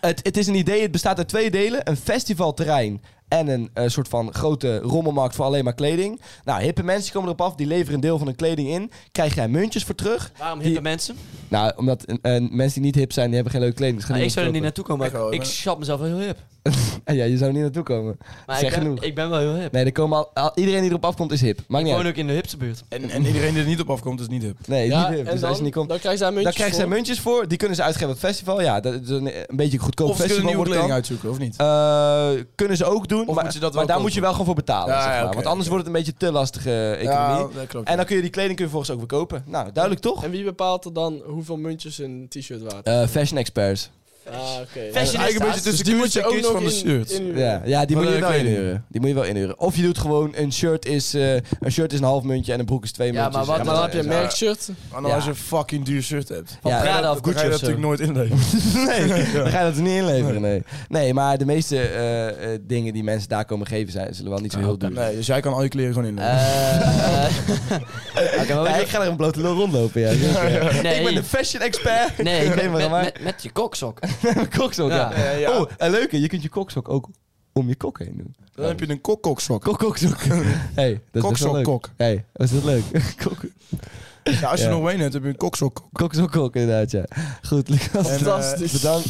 [SPEAKER 2] het? Het is een idee, het bestaat uit twee delen. Een festivalterrein en een eh, soort van grote rommelmarkt voor alleen maar kleding. Nou, hippe mensen komen erop af, die leveren een deel van hun kleding in. Krijg jij muntjes voor terug?
[SPEAKER 5] Waarom
[SPEAKER 2] hippe
[SPEAKER 5] hippe mensen?
[SPEAKER 2] Nou, omdat eh, eh, mensen die niet hip zijn, die hebben geen leuke kleding. Dus gaan
[SPEAKER 5] Ah, ik
[SPEAKER 2] die
[SPEAKER 5] zou er niet
[SPEAKER 2] verkopen.
[SPEAKER 5] naartoe komen.
[SPEAKER 3] Ik
[SPEAKER 5] Ik,
[SPEAKER 3] wel,
[SPEAKER 5] ik
[SPEAKER 3] maar-
[SPEAKER 5] schat mezelf wel heel hip.
[SPEAKER 2] Ja, je zou er niet naartoe komen.
[SPEAKER 5] Maar
[SPEAKER 2] Zeg
[SPEAKER 5] ik, ben,
[SPEAKER 2] genoeg.
[SPEAKER 5] ik ben wel heel hip.
[SPEAKER 2] Nee, er komen al, al- iedereen die erop afkomt is hip. Maakt
[SPEAKER 5] ik
[SPEAKER 2] niet
[SPEAKER 5] woon
[SPEAKER 2] uit.
[SPEAKER 5] ook in de hipste buurt.
[SPEAKER 3] En, en iedereen die er niet op afkomt, is niet hip.
[SPEAKER 2] Nee,
[SPEAKER 4] Ja,
[SPEAKER 2] niet hip.
[SPEAKER 4] en
[SPEAKER 2] Dus als je niet komt...
[SPEAKER 4] dan krijg je daar
[SPEAKER 2] Daar
[SPEAKER 4] muntjes
[SPEAKER 2] krijgen ze
[SPEAKER 4] voor.
[SPEAKER 2] muntjes voor. Die kunnen ze uitgeven op het festival. Ja, dat is een, een beetje goedkoop
[SPEAKER 3] Of ze kunnen
[SPEAKER 2] festival
[SPEAKER 3] nieuwe
[SPEAKER 2] wordt het
[SPEAKER 3] kleding
[SPEAKER 2] dan.
[SPEAKER 3] uitzoeken, of niet?
[SPEAKER 2] Eh, kunnen ze ook doen.
[SPEAKER 3] Of
[SPEAKER 2] maar
[SPEAKER 3] moet je dat wel
[SPEAKER 2] maar daar
[SPEAKER 3] kopen?
[SPEAKER 2] moet je wel gewoon voor betalen.
[SPEAKER 3] Ja,
[SPEAKER 2] zeg maar.
[SPEAKER 3] ja, oké,
[SPEAKER 2] Want anders
[SPEAKER 3] oké.
[SPEAKER 2] wordt het een beetje te lastige economie.
[SPEAKER 3] Ja, dat klopt.
[SPEAKER 2] en dan kun je die kleding kun je volgens ook weer kopen. Nou, duidelijk toch?
[SPEAKER 4] En wie bepaalt er dan hoeveel muntjes een t-shirt waard?
[SPEAKER 2] Eh, fashion experts.
[SPEAKER 4] ah, oké.
[SPEAKER 5] Fashion-
[SPEAKER 3] eigenlijk een beetje tussen
[SPEAKER 4] die
[SPEAKER 3] dus
[SPEAKER 4] moet je ook nog
[SPEAKER 3] van de
[SPEAKER 4] in-
[SPEAKER 3] shirt.
[SPEAKER 4] in-
[SPEAKER 2] Ja, ja die,
[SPEAKER 3] Wat
[SPEAKER 2] moet je
[SPEAKER 3] een
[SPEAKER 2] wel
[SPEAKER 3] kleding.
[SPEAKER 2] inhuren. die moet je wel inhuren. Of je doet gewoon een shirt is, eh, een, shirt is een half muntje en een broek is twee
[SPEAKER 5] Ja,
[SPEAKER 2] muntjes.
[SPEAKER 5] maar wat-
[SPEAKER 4] Ja, maar dan heb je een
[SPEAKER 3] Ja.
[SPEAKER 4] merkshirt.
[SPEAKER 3] Maar dan
[SPEAKER 2] Ja.
[SPEAKER 3] als je een fucking duur shirt hebt.
[SPEAKER 2] Ja.
[SPEAKER 5] Prada
[SPEAKER 3] Dan ga je
[SPEAKER 5] of
[SPEAKER 3] dat- dan
[SPEAKER 5] Gucci
[SPEAKER 3] ga je
[SPEAKER 5] of
[SPEAKER 3] dat
[SPEAKER 5] zo.
[SPEAKER 3] natuurlijk nooit inleven.
[SPEAKER 2] Nee, dan ga je dat er niet inleveren, nee. Nee, maar de meeste eh, eh, dingen die mensen daar komen geven zijn, zullen wel niet zo heel duur zijn.
[SPEAKER 3] Nee, dus jij kan al je kleren gewoon inleven.
[SPEAKER 2] Eh,
[SPEAKER 5] Oké, maar
[SPEAKER 2] Nee,
[SPEAKER 5] wat-
[SPEAKER 2] ik ga er een blote lul rondlopen, ja. Ik ben
[SPEAKER 5] nee,
[SPEAKER 2] de fashion expert.
[SPEAKER 5] nee,
[SPEAKER 2] ik ben
[SPEAKER 5] met,
[SPEAKER 2] maar
[SPEAKER 5] met, met je koksok.
[SPEAKER 2] een koksok, ja.
[SPEAKER 5] Ja.
[SPEAKER 3] Ja, ja.
[SPEAKER 2] Oh, en leuke, je kunt je koksok ook om je kok heen doen.
[SPEAKER 3] dan heb je een kokkoksok.
[SPEAKER 2] Kokkoksok. Hey, dat is best wel leuk.
[SPEAKER 3] Koksokkok.
[SPEAKER 2] Hey, was dat leuk? Kok-
[SPEAKER 3] Ja, als je
[SPEAKER 2] Ja.
[SPEAKER 3] nog Wayne hebt, heb je een koksokkok.
[SPEAKER 2] Koksokkok, inderdaad, ja. Goed, Lucas.
[SPEAKER 3] En, eh,
[SPEAKER 4] Fantastisch.
[SPEAKER 2] Bedankt.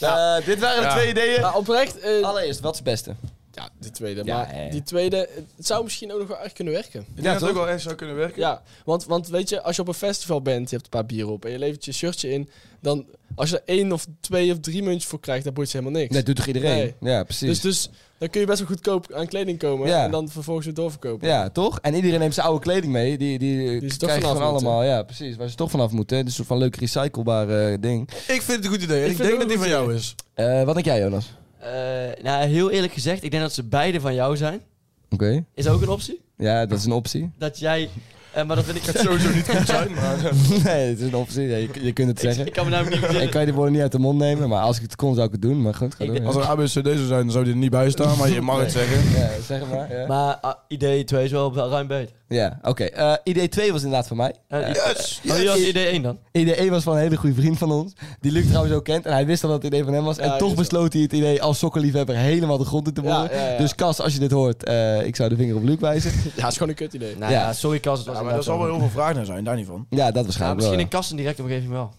[SPEAKER 2] Eh, dit waren de
[SPEAKER 3] Ja.
[SPEAKER 2] twee ideeën.
[SPEAKER 4] Maar oprecht, eh,
[SPEAKER 2] Allereerst, wat is het beste?
[SPEAKER 4] ja, die tweede.
[SPEAKER 2] Ja,
[SPEAKER 4] maar
[SPEAKER 2] ja, ja.
[SPEAKER 4] die tweede, het zou misschien ook nog wel echt kunnen werken.
[SPEAKER 3] Ik denk dat
[SPEAKER 2] toch?
[SPEAKER 3] het ook wel echt zou kunnen werken.
[SPEAKER 4] Ja, want, want weet je, als je op een festival bent, je hebt een paar bieren op en je levert je shirtje in, dan als je er één of twee of drie muntjes voor krijgt, dan boeit je helemaal niks.
[SPEAKER 2] Nee, doet toch iedereen?
[SPEAKER 4] Nee.
[SPEAKER 2] Ja, precies.
[SPEAKER 4] dus, dus dan kun je best wel goedkoop aan kleding komen
[SPEAKER 2] Ja.
[SPEAKER 4] en dan vervolgens weer doorverkopen.
[SPEAKER 2] Ja, toch? En iedereen neemt zijn oude kleding mee. Die, die,
[SPEAKER 4] Die ze toch
[SPEAKER 2] krijgen
[SPEAKER 4] vanaf
[SPEAKER 2] gewoon
[SPEAKER 4] moeten.
[SPEAKER 2] allemaal. Ja, precies. Waar ze toch vanaf moeten. hè. Dus een soort van leuk recyclebare eh, ding.
[SPEAKER 3] Ik vind het een goed idee. En
[SPEAKER 4] Ik
[SPEAKER 3] Ik,
[SPEAKER 4] vind
[SPEAKER 3] denk
[SPEAKER 4] het
[SPEAKER 3] dat
[SPEAKER 4] ook
[SPEAKER 3] die van
[SPEAKER 4] een
[SPEAKER 3] jou is.
[SPEAKER 2] Eh, wat denk jij, Jonas?
[SPEAKER 5] Eh, nou, heel eerlijk gezegd, ik denk dat ze beide van jou zijn.
[SPEAKER 2] Oké.
[SPEAKER 5] Is dat ook een optie?
[SPEAKER 2] Ja, dat is een optie.
[SPEAKER 5] Dat jij... eh, maar dat vind ik...
[SPEAKER 3] Het sowieso niet goed zijn, maar...
[SPEAKER 2] nee, het is een optie. Ja, je, je kunt het zeggen.
[SPEAKER 5] Ik kan me namelijk niet verzinnen.
[SPEAKER 2] Ik kan je de woorden niet uit de mond nemen. Maar als ik het kon, zou ik het doen. Maar goed, ga
[SPEAKER 5] Ik
[SPEAKER 2] door,
[SPEAKER 5] denk-
[SPEAKER 2] ja.
[SPEAKER 3] Als er ABCD zou zijn, dan zou die er niet bij staan, maar je mag het zeggen.
[SPEAKER 2] Ja, zeg het maar. Ja,
[SPEAKER 5] Maar ah, idee 2 is wel ruim beter.
[SPEAKER 2] ja oké. Eh, idee 2 was inderdaad van mij.
[SPEAKER 5] Eh,
[SPEAKER 2] Ja.
[SPEAKER 3] Yes!
[SPEAKER 5] Oh, die was idee 1 dan?
[SPEAKER 2] Idee 1 was van een hele goede vriend van ons. Die Luc trouwens ook kent. En hij wist al dat het idee van hem was.
[SPEAKER 4] Ja,
[SPEAKER 2] en toch
[SPEAKER 4] dus-
[SPEAKER 2] besloot hij het idee als sokkenliefhebber helemaal de grond in te boren.
[SPEAKER 4] Ja, ja, ja.
[SPEAKER 2] Dus Cas, als je dit hoort, eh, ik zou de vinger op Luc wijzen.
[SPEAKER 4] Ja, is gewoon een kut idee.
[SPEAKER 5] Nou
[SPEAKER 2] Ja.
[SPEAKER 5] ja, sorry Kas, het was
[SPEAKER 3] Ja, maar
[SPEAKER 5] inderdaad
[SPEAKER 3] daar zal wel
[SPEAKER 5] wel-
[SPEAKER 3] heel veel vraag naar zijn, daar niet van.
[SPEAKER 2] Ja, dat
[SPEAKER 5] Ja,
[SPEAKER 2] waarschijnlijk
[SPEAKER 5] Nou, misschien
[SPEAKER 2] wel.
[SPEAKER 5] in Kas in directe omgeving wel.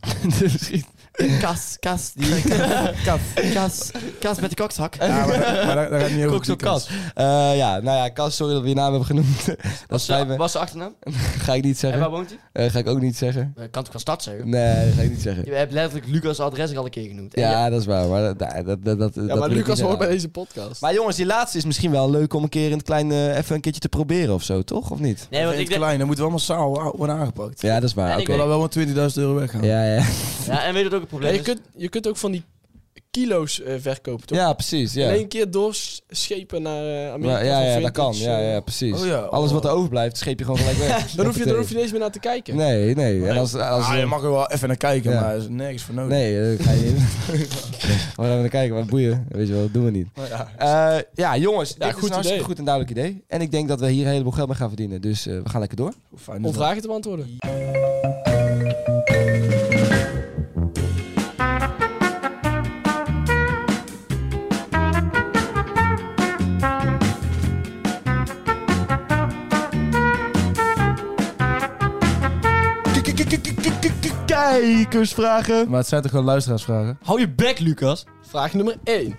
[SPEAKER 2] Misschien.
[SPEAKER 5] Kas, Kas, die... Kas, Kas, Kas met de kokshak.
[SPEAKER 3] Ja, maar, maar daar, daar gaat niet heel
[SPEAKER 2] Ook
[SPEAKER 3] goed
[SPEAKER 2] zo'n
[SPEAKER 3] die kant.
[SPEAKER 2] kat. Eh, ja, nou ja, Kas, sorry dat we je naam hebben genoemd. dat
[SPEAKER 5] Was ze-
[SPEAKER 2] zijn
[SPEAKER 5] was zijn achternaam?
[SPEAKER 2] Ga ik niet
[SPEAKER 5] En waar
[SPEAKER 2] zeggen.
[SPEAKER 5] woont hij?
[SPEAKER 2] Eh, ga ik ook niet zeggen.
[SPEAKER 5] Eh, Kan ik van stad zeggen?
[SPEAKER 2] Nee, dat ga ik niet zeggen.
[SPEAKER 5] Je hebt letterlijk Lucas' adres al een keer genoemd. En
[SPEAKER 2] Ja, dat is waar. Maar, dat, dat, dat, dat, dat
[SPEAKER 4] Ja,
[SPEAKER 2] wil
[SPEAKER 4] maar
[SPEAKER 2] ik niet
[SPEAKER 4] Lucas hoort
[SPEAKER 2] zeggen.
[SPEAKER 4] bij deze podcast.
[SPEAKER 2] Maar jongens, die laatste is misschien wel leuk om een keer in het klein eh, even een keertje te proberen of zo, toch? Of niet?
[SPEAKER 5] Nee, want ik denk...
[SPEAKER 3] klein, dan moeten we allemaal saal worden aangepakt.
[SPEAKER 2] Ja, dat is
[SPEAKER 5] En
[SPEAKER 2] waar.
[SPEAKER 5] ik
[SPEAKER 2] Oké.
[SPEAKER 3] Ik wil daar wel maar 20.000 euro weggaan.
[SPEAKER 2] Ja, ja.
[SPEAKER 5] Ja, en weet je wat ook het
[SPEAKER 4] Ja,
[SPEAKER 5] probleem
[SPEAKER 4] je,
[SPEAKER 5] is?
[SPEAKER 4] kunt, je kunt ook van die kilo's eh, verkopen, toch?
[SPEAKER 2] ja, precies. Ja.
[SPEAKER 4] In één keer doorschepen naar eh, Amerika.
[SPEAKER 2] Maar, ja,
[SPEAKER 4] van
[SPEAKER 2] ja, dat
[SPEAKER 4] vintage,
[SPEAKER 2] kan. Ja,
[SPEAKER 4] eh.
[SPEAKER 2] ja, precies.
[SPEAKER 3] Oh ja, oh.
[SPEAKER 2] Alles wat er overblijft, scheep je gewoon gelijk weg.
[SPEAKER 4] Dan hoef, je, dan hoef je niet eens meer naar te kijken.
[SPEAKER 2] Nee, nee. En als, als,
[SPEAKER 3] Ah, je mag er wel even naar kijken,
[SPEAKER 2] Ja.
[SPEAKER 3] maar er is nergens voor nodig.
[SPEAKER 2] Nee, eh, ga je in. maar dan gaan we kijken, wat boeien. Weet je wel, dat doen we niet.
[SPEAKER 3] ja.
[SPEAKER 2] Eh, ja, jongens, dit
[SPEAKER 4] goed
[SPEAKER 2] is een hartstikke
[SPEAKER 4] idee.
[SPEAKER 2] goed en duidelijk idee. En ik denk dat we hier een heleboel geld mee gaan verdienen. Dus eh, we gaan lekker door.
[SPEAKER 3] Hoe fijn is
[SPEAKER 4] Om
[SPEAKER 3] dat?
[SPEAKER 4] vragen te beantwoorden.
[SPEAKER 2] Kijkersvragen.
[SPEAKER 3] Maar het zijn toch gewoon luisteraarsvragen?
[SPEAKER 5] Hou je bek, Lucas.
[SPEAKER 4] Vraag nummer 1.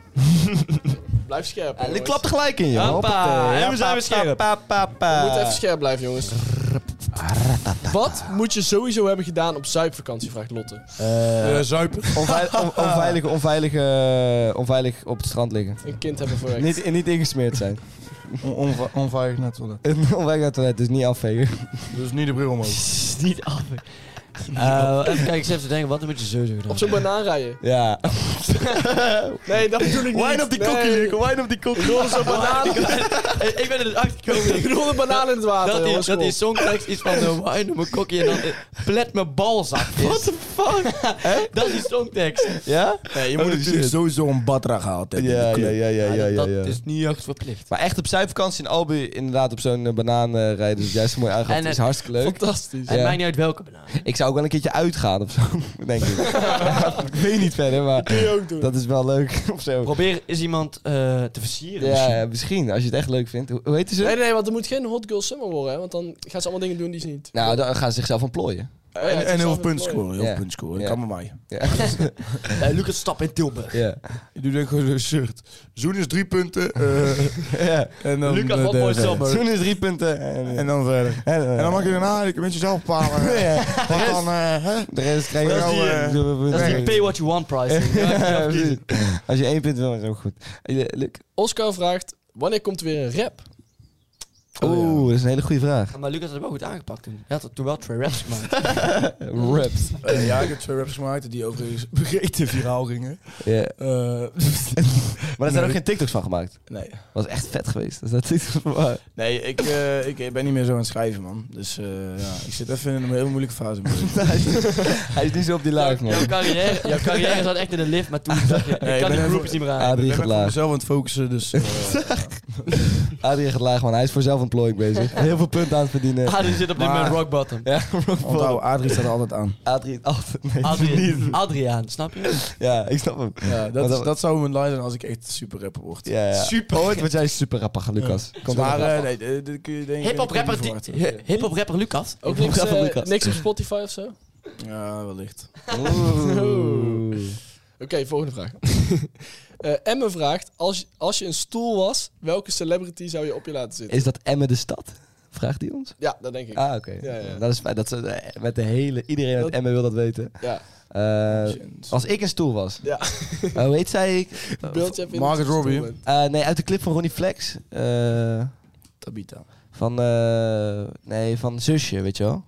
[SPEAKER 4] Blijf scherp. hoor,
[SPEAKER 2] ik
[SPEAKER 4] jongens.
[SPEAKER 2] klap er gelijk in, joh.
[SPEAKER 5] Hoppa,
[SPEAKER 2] Hoppatee.
[SPEAKER 5] en we zijn weer scherp.
[SPEAKER 2] Pa, pa, pa.
[SPEAKER 4] We moeten even scherp blijven, jongens. Wat moet je sowieso hebben gedaan op zuipvakantie, vraagt Lotte.
[SPEAKER 3] Eh
[SPEAKER 5] Dus.
[SPEAKER 3] zuipen.
[SPEAKER 2] Onveil- on- onveilig, onveilig, eh, onveilig op het strand liggen.
[SPEAKER 4] Een kind hebben voor echt.
[SPEAKER 2] Niet, in- niet ingesmeerd zijn.
[SPEAKER 3] On- onva- Onveilig naar het toilet.
[SPEAKER 2] onveilig naar het toilet, dus niet afvegen.
[SPEAKER 3] Dus niet de bril omhoog.
[SPEAKER 5] Is niet af. Eh, even kijken, ik zit even te denken, wat moet je sowieso gedaan?
[SPEAKER 4] Op zo'n banaan rijden.
[SPEAKER 2] Ja.
[SPEAKER 4] Nee, dat bedoel ik niet.
[SPEAKER 2] Wijn op die
[SPEAKER 4] nee.
[SPEAKER 2] kokkie, Luc. Wijn op die kokkie.
[SPEAKER 4] Ik rolde zo'n banaan,
[SPEAKER 5] Hey, ik ben er dus achter gekomen
[SPEAKER 4] ik rolde een banaan in het water,
[SPEAKER 5] dat die,
[SPEAKER 4] jongens.
[SPEAKER 5] dat die
[SPEAKER 4] kom.
[SPEAKER 5] songtekst iets van de wine op mijn kokkie en dan eh, plet mijn balzak is. What the fuck? dat is die songtekst.
[SPEAKER 2] Ja?
[SPEAKER 3] Nee, Eh, je moet natuurlijk sowieso een badra gehaald hebben.
[SPEAKER 2] Ja, ja, ja, ja, ja,
[SPEAKER 5] dat,
[SPEAKER 2] ja.
[SPEAKER 5] dat
[SPEAKER 2] ja.
[SPEAKER 5] is niet echt verplicht.
[SPEAKER 2] Maar echt op zuipvakantie in Albi, inderdaad op zo'n eh, banaan eh, rijden, dus juist zo mooi aangaf,
[SPEAKER 5] En
[SPEAKER 2] het is
[SPEAKER 5] het-
[SPEAKER 2] hartstikke leuk.
[SPEAKER 4] Fantastisch.
[SPEAKER 2] Ja.
[SPEAKER 5] Het maakt niet uit welke banaan.
[SPEAKER 2] Ik zou ook wel een keertje uitgaan of zo, denk ik. ik weet niet verder, maar
[SPEAKER 4] Kun je ook doen.
[SPEAKER 2] dat is wel leuk of zo.
[SPEAKER 5] Probeer eens iemand eh, te versieren.
[SPEAKER 2] Ja,
[SPEAKER 5] misschien.
[SPEAKER 2] ja, misschien. Als je het echt leuk vindt. Hoe hoe heette ze?
[SPEAKER 4] Nee, nee, want er moet geen hot girl summer worden, hè, want dan gaan ze allemaal dingen doen die ze niet.
[SPEAKER 2] Nou, dan gaan ze zichzelf ontplooien.
[SPEAKER 4] Ja,
[SPEAKER 3] En,
[SPEAKER 4] Eh, het is
[SPEAKER 3] en heel
[SPEAKER 4] wel
[SPEAKER 3] veel punten
[SPEAKER 4] mooi.
[SPEAKER 3] scoren. Heel
[SPEAKER 2] Ja.
[SPEAKER 3] veel punten scoren. Dat
[SPEAKER 2] Ja.
[SPEAKER 3] kan bij mij.
[SPEAKER 2] Ja.
[SPEAKER 5] Eh, Lucas Stap in Tilburg.
[SPEAKER 2] ja.
[SPEAKER 3] Ik doe denk gewoon een shirt. Zoen is drie punten. eh,
[SPEAKER 2] ja.
[SPEAKER 3] en dan
[SPEAKER 5] Lucas
[SPEAKER 3] eh,
[SPEAKER 5] Hotboy
[SPEAKER 3] verder.
[SPEAKER 5] Stap.
[SPEAKER 2] Toen is drie punten. En, eh,
[SPEAKER 3] En dan verder.
[SPEAKER 2] en-
[SPEAKER 3] En dan mag je daarna een beetje zelf bepalen. eh,
[SPEAKER 2] Ja.
[SPEAKER 3] Wat dan... eh, hè?
[SPEAKER 2] De rest krijg je
[SPEAKER 5] Dat is
[SPEAKER 2] wel,
[SPEAKER 5] die,
[SPEAKER 2] eh,
[SPEAKER 3] eh,
[SPEAKER 2] doe-
[SPEAKER 5] Dat is die
[SPEAKER 2] doe-
[SPEAKER 5] pay what you want pricing. Ja,
[SPEAKER 2] Ja,
[SPEAKER 5] ja,
[SPEAKER 2] precies. Als je één punt wil, is het ook goed. Eh, Luc?
[SPEAKER 4] Oscar vraagt, wanneer komt er weer een rap?
[SPEAKER 2] Oeh, dat is een hele goede vraag.
[SPEAKER 5] Maar Lucas had het wel goed aangepakt toen. Hij had er toen wel twee raps gemaakt.
[SPEAKER 2] Raps.
[SPEAKER 3] Eh, ja, ik heb twee raps gemaakt die overigens vergeten viraal gingen.
[SPEAKER 2] Ja.
[SPEAKER 3] Eh,
[SPEAKER 2] Maar er zijn
[SPEAKER 3] Nee.
[SPEAKER 2] ook geen TikToks van gemaakt.
[SPEAKER 3] nee.
[SPEAKER 2] was echt vet geweest. Dat is dat TikToks van gemaakt.
[SPEAKER 3] Nee, ik, eh, ik ben niet meer zo aan het schrijven, man. Dus eh, ja, ik zit even in een heel moeilijke fase.
[SPEAKER 2] Hij is- Hij is niet zo op die laag, man.
[SPEAKER 5] Jouw carrière, jouw carrière zat echt in de lift, maar toen dacht je,
[SPEAKER 3] Nee,
[SPEAKER 5] ik
[SPEAKER 3] ik
[SPEAKER 5] kan die
[SPEAKER 3] ben
[SPEAKER 5] groepjes niet meer aan.
[SPEAKER 2] Adrie
[SPEAKER 3] ik
[SPEAKER 2] gaat
[SPEAKER 3] ben op
[SPEAKER 2] laag.
[SPEAKER 3] mezelf aan het focussen, dus... eh,
[SPEAKER 2] Adrie gaat laag, man. Hij is voor zelfontplooiing bezig. Heel veel punten aan het verdienen.
[SPEAKER 5] Adrie zit op dit
[SPEAKER 3] Maar-
[SPEAKER 5] moment rock bottom.
[SPEAKER 2] Ja, rockbottom.
[SPEAKER 3] onthoud, Adrie staat er altijd aan.
[SPEAKER 2] Adrie altijd. Nee,
[SPEAKER 5] Adrie,
[SPEAKER 2] niet.
[SPEAKER 5] Adriaan, snap je?
[SPEAKER 2] Ja, ik snap hem.
[SPEAKER 3] Ja, dat,
[SPEAKER 2] Maar
[SPEAKER 3] is-
[SPEAKER 2] dat-
[SPEAKER 3] dat zou mijn line zijn als ik echt super rapper word.
[SPEAKER 2] Ja, ja. Super. Oh, want jij is super rapper, Lucas. Komt
[SPEAKER 3] maar
[SPEAKER 2] er nog
[SPEAKER 3] eh, nee, eh, dat kun je denk ik...
[SPEAKER 5] Hip-hop rapper,
[SPEAKER 3] niet
[SPEAKER 5] die-
[SPEAKER 3] verwachten.
[SPEAKER 5] hi- hip-hop rapper Lucas.
[SPEAKER 4] Ook
[SPEAKER 2] Ik
[SPEAKER 4] niks,
[SPEAKER 2] vraag van
[SPEAKER 4] eh,
[SPEAKER 2] Lucas.
[SPEAKER 4] niks op Spotify of zo? Oké,
[SPEAKER 3] Ja, wellicht.
[SPEAKER 2] af. Oeh.
[SPEAKER 4] volgende vraag. Eh Emme vraagt, als, als je een stoel was, welke celebrity zou je op je laten zitten?
[SPEAKER 2] Is dat Emmen de stad? Vraagt hij ons.
[SPEAKER 4] Ja, dat denk ik.
[SPEAKER 2] Ah, oké.
[SPEAKER 4] Ja, ja.
[SPEAKER 2] Dat is fijn. Dat ze, eh, met de hele, iedereen uit
[SPEAKER 4] Dat-
[SPEAKER 2] Emmen wil dat weten.
[SPEAKER 4] Ja.
[SPEAKER 2] Eh,
[SPEAKER 3] Shit.
[SPEAKER 2] als ik een stoel was.
[SPEAKER 4] Ja.
[SPEAKER 2] Eh, hoe heet zij?
[SPEAKER 4] Beeld je even in
[SPEAKER 3] Margaret
[SPEAKER 4] dat je
[SPEAKER 3] Robbie.
[SPEAKER 4] stoel bent.
[SPEAKER 2] Eh, nee, uit de clip van Ronnie Flex. Eh,
[SPEAKER 3] Tabita.
[SPEAKER 2] van, eh, nee, van Zusje, weet je wel.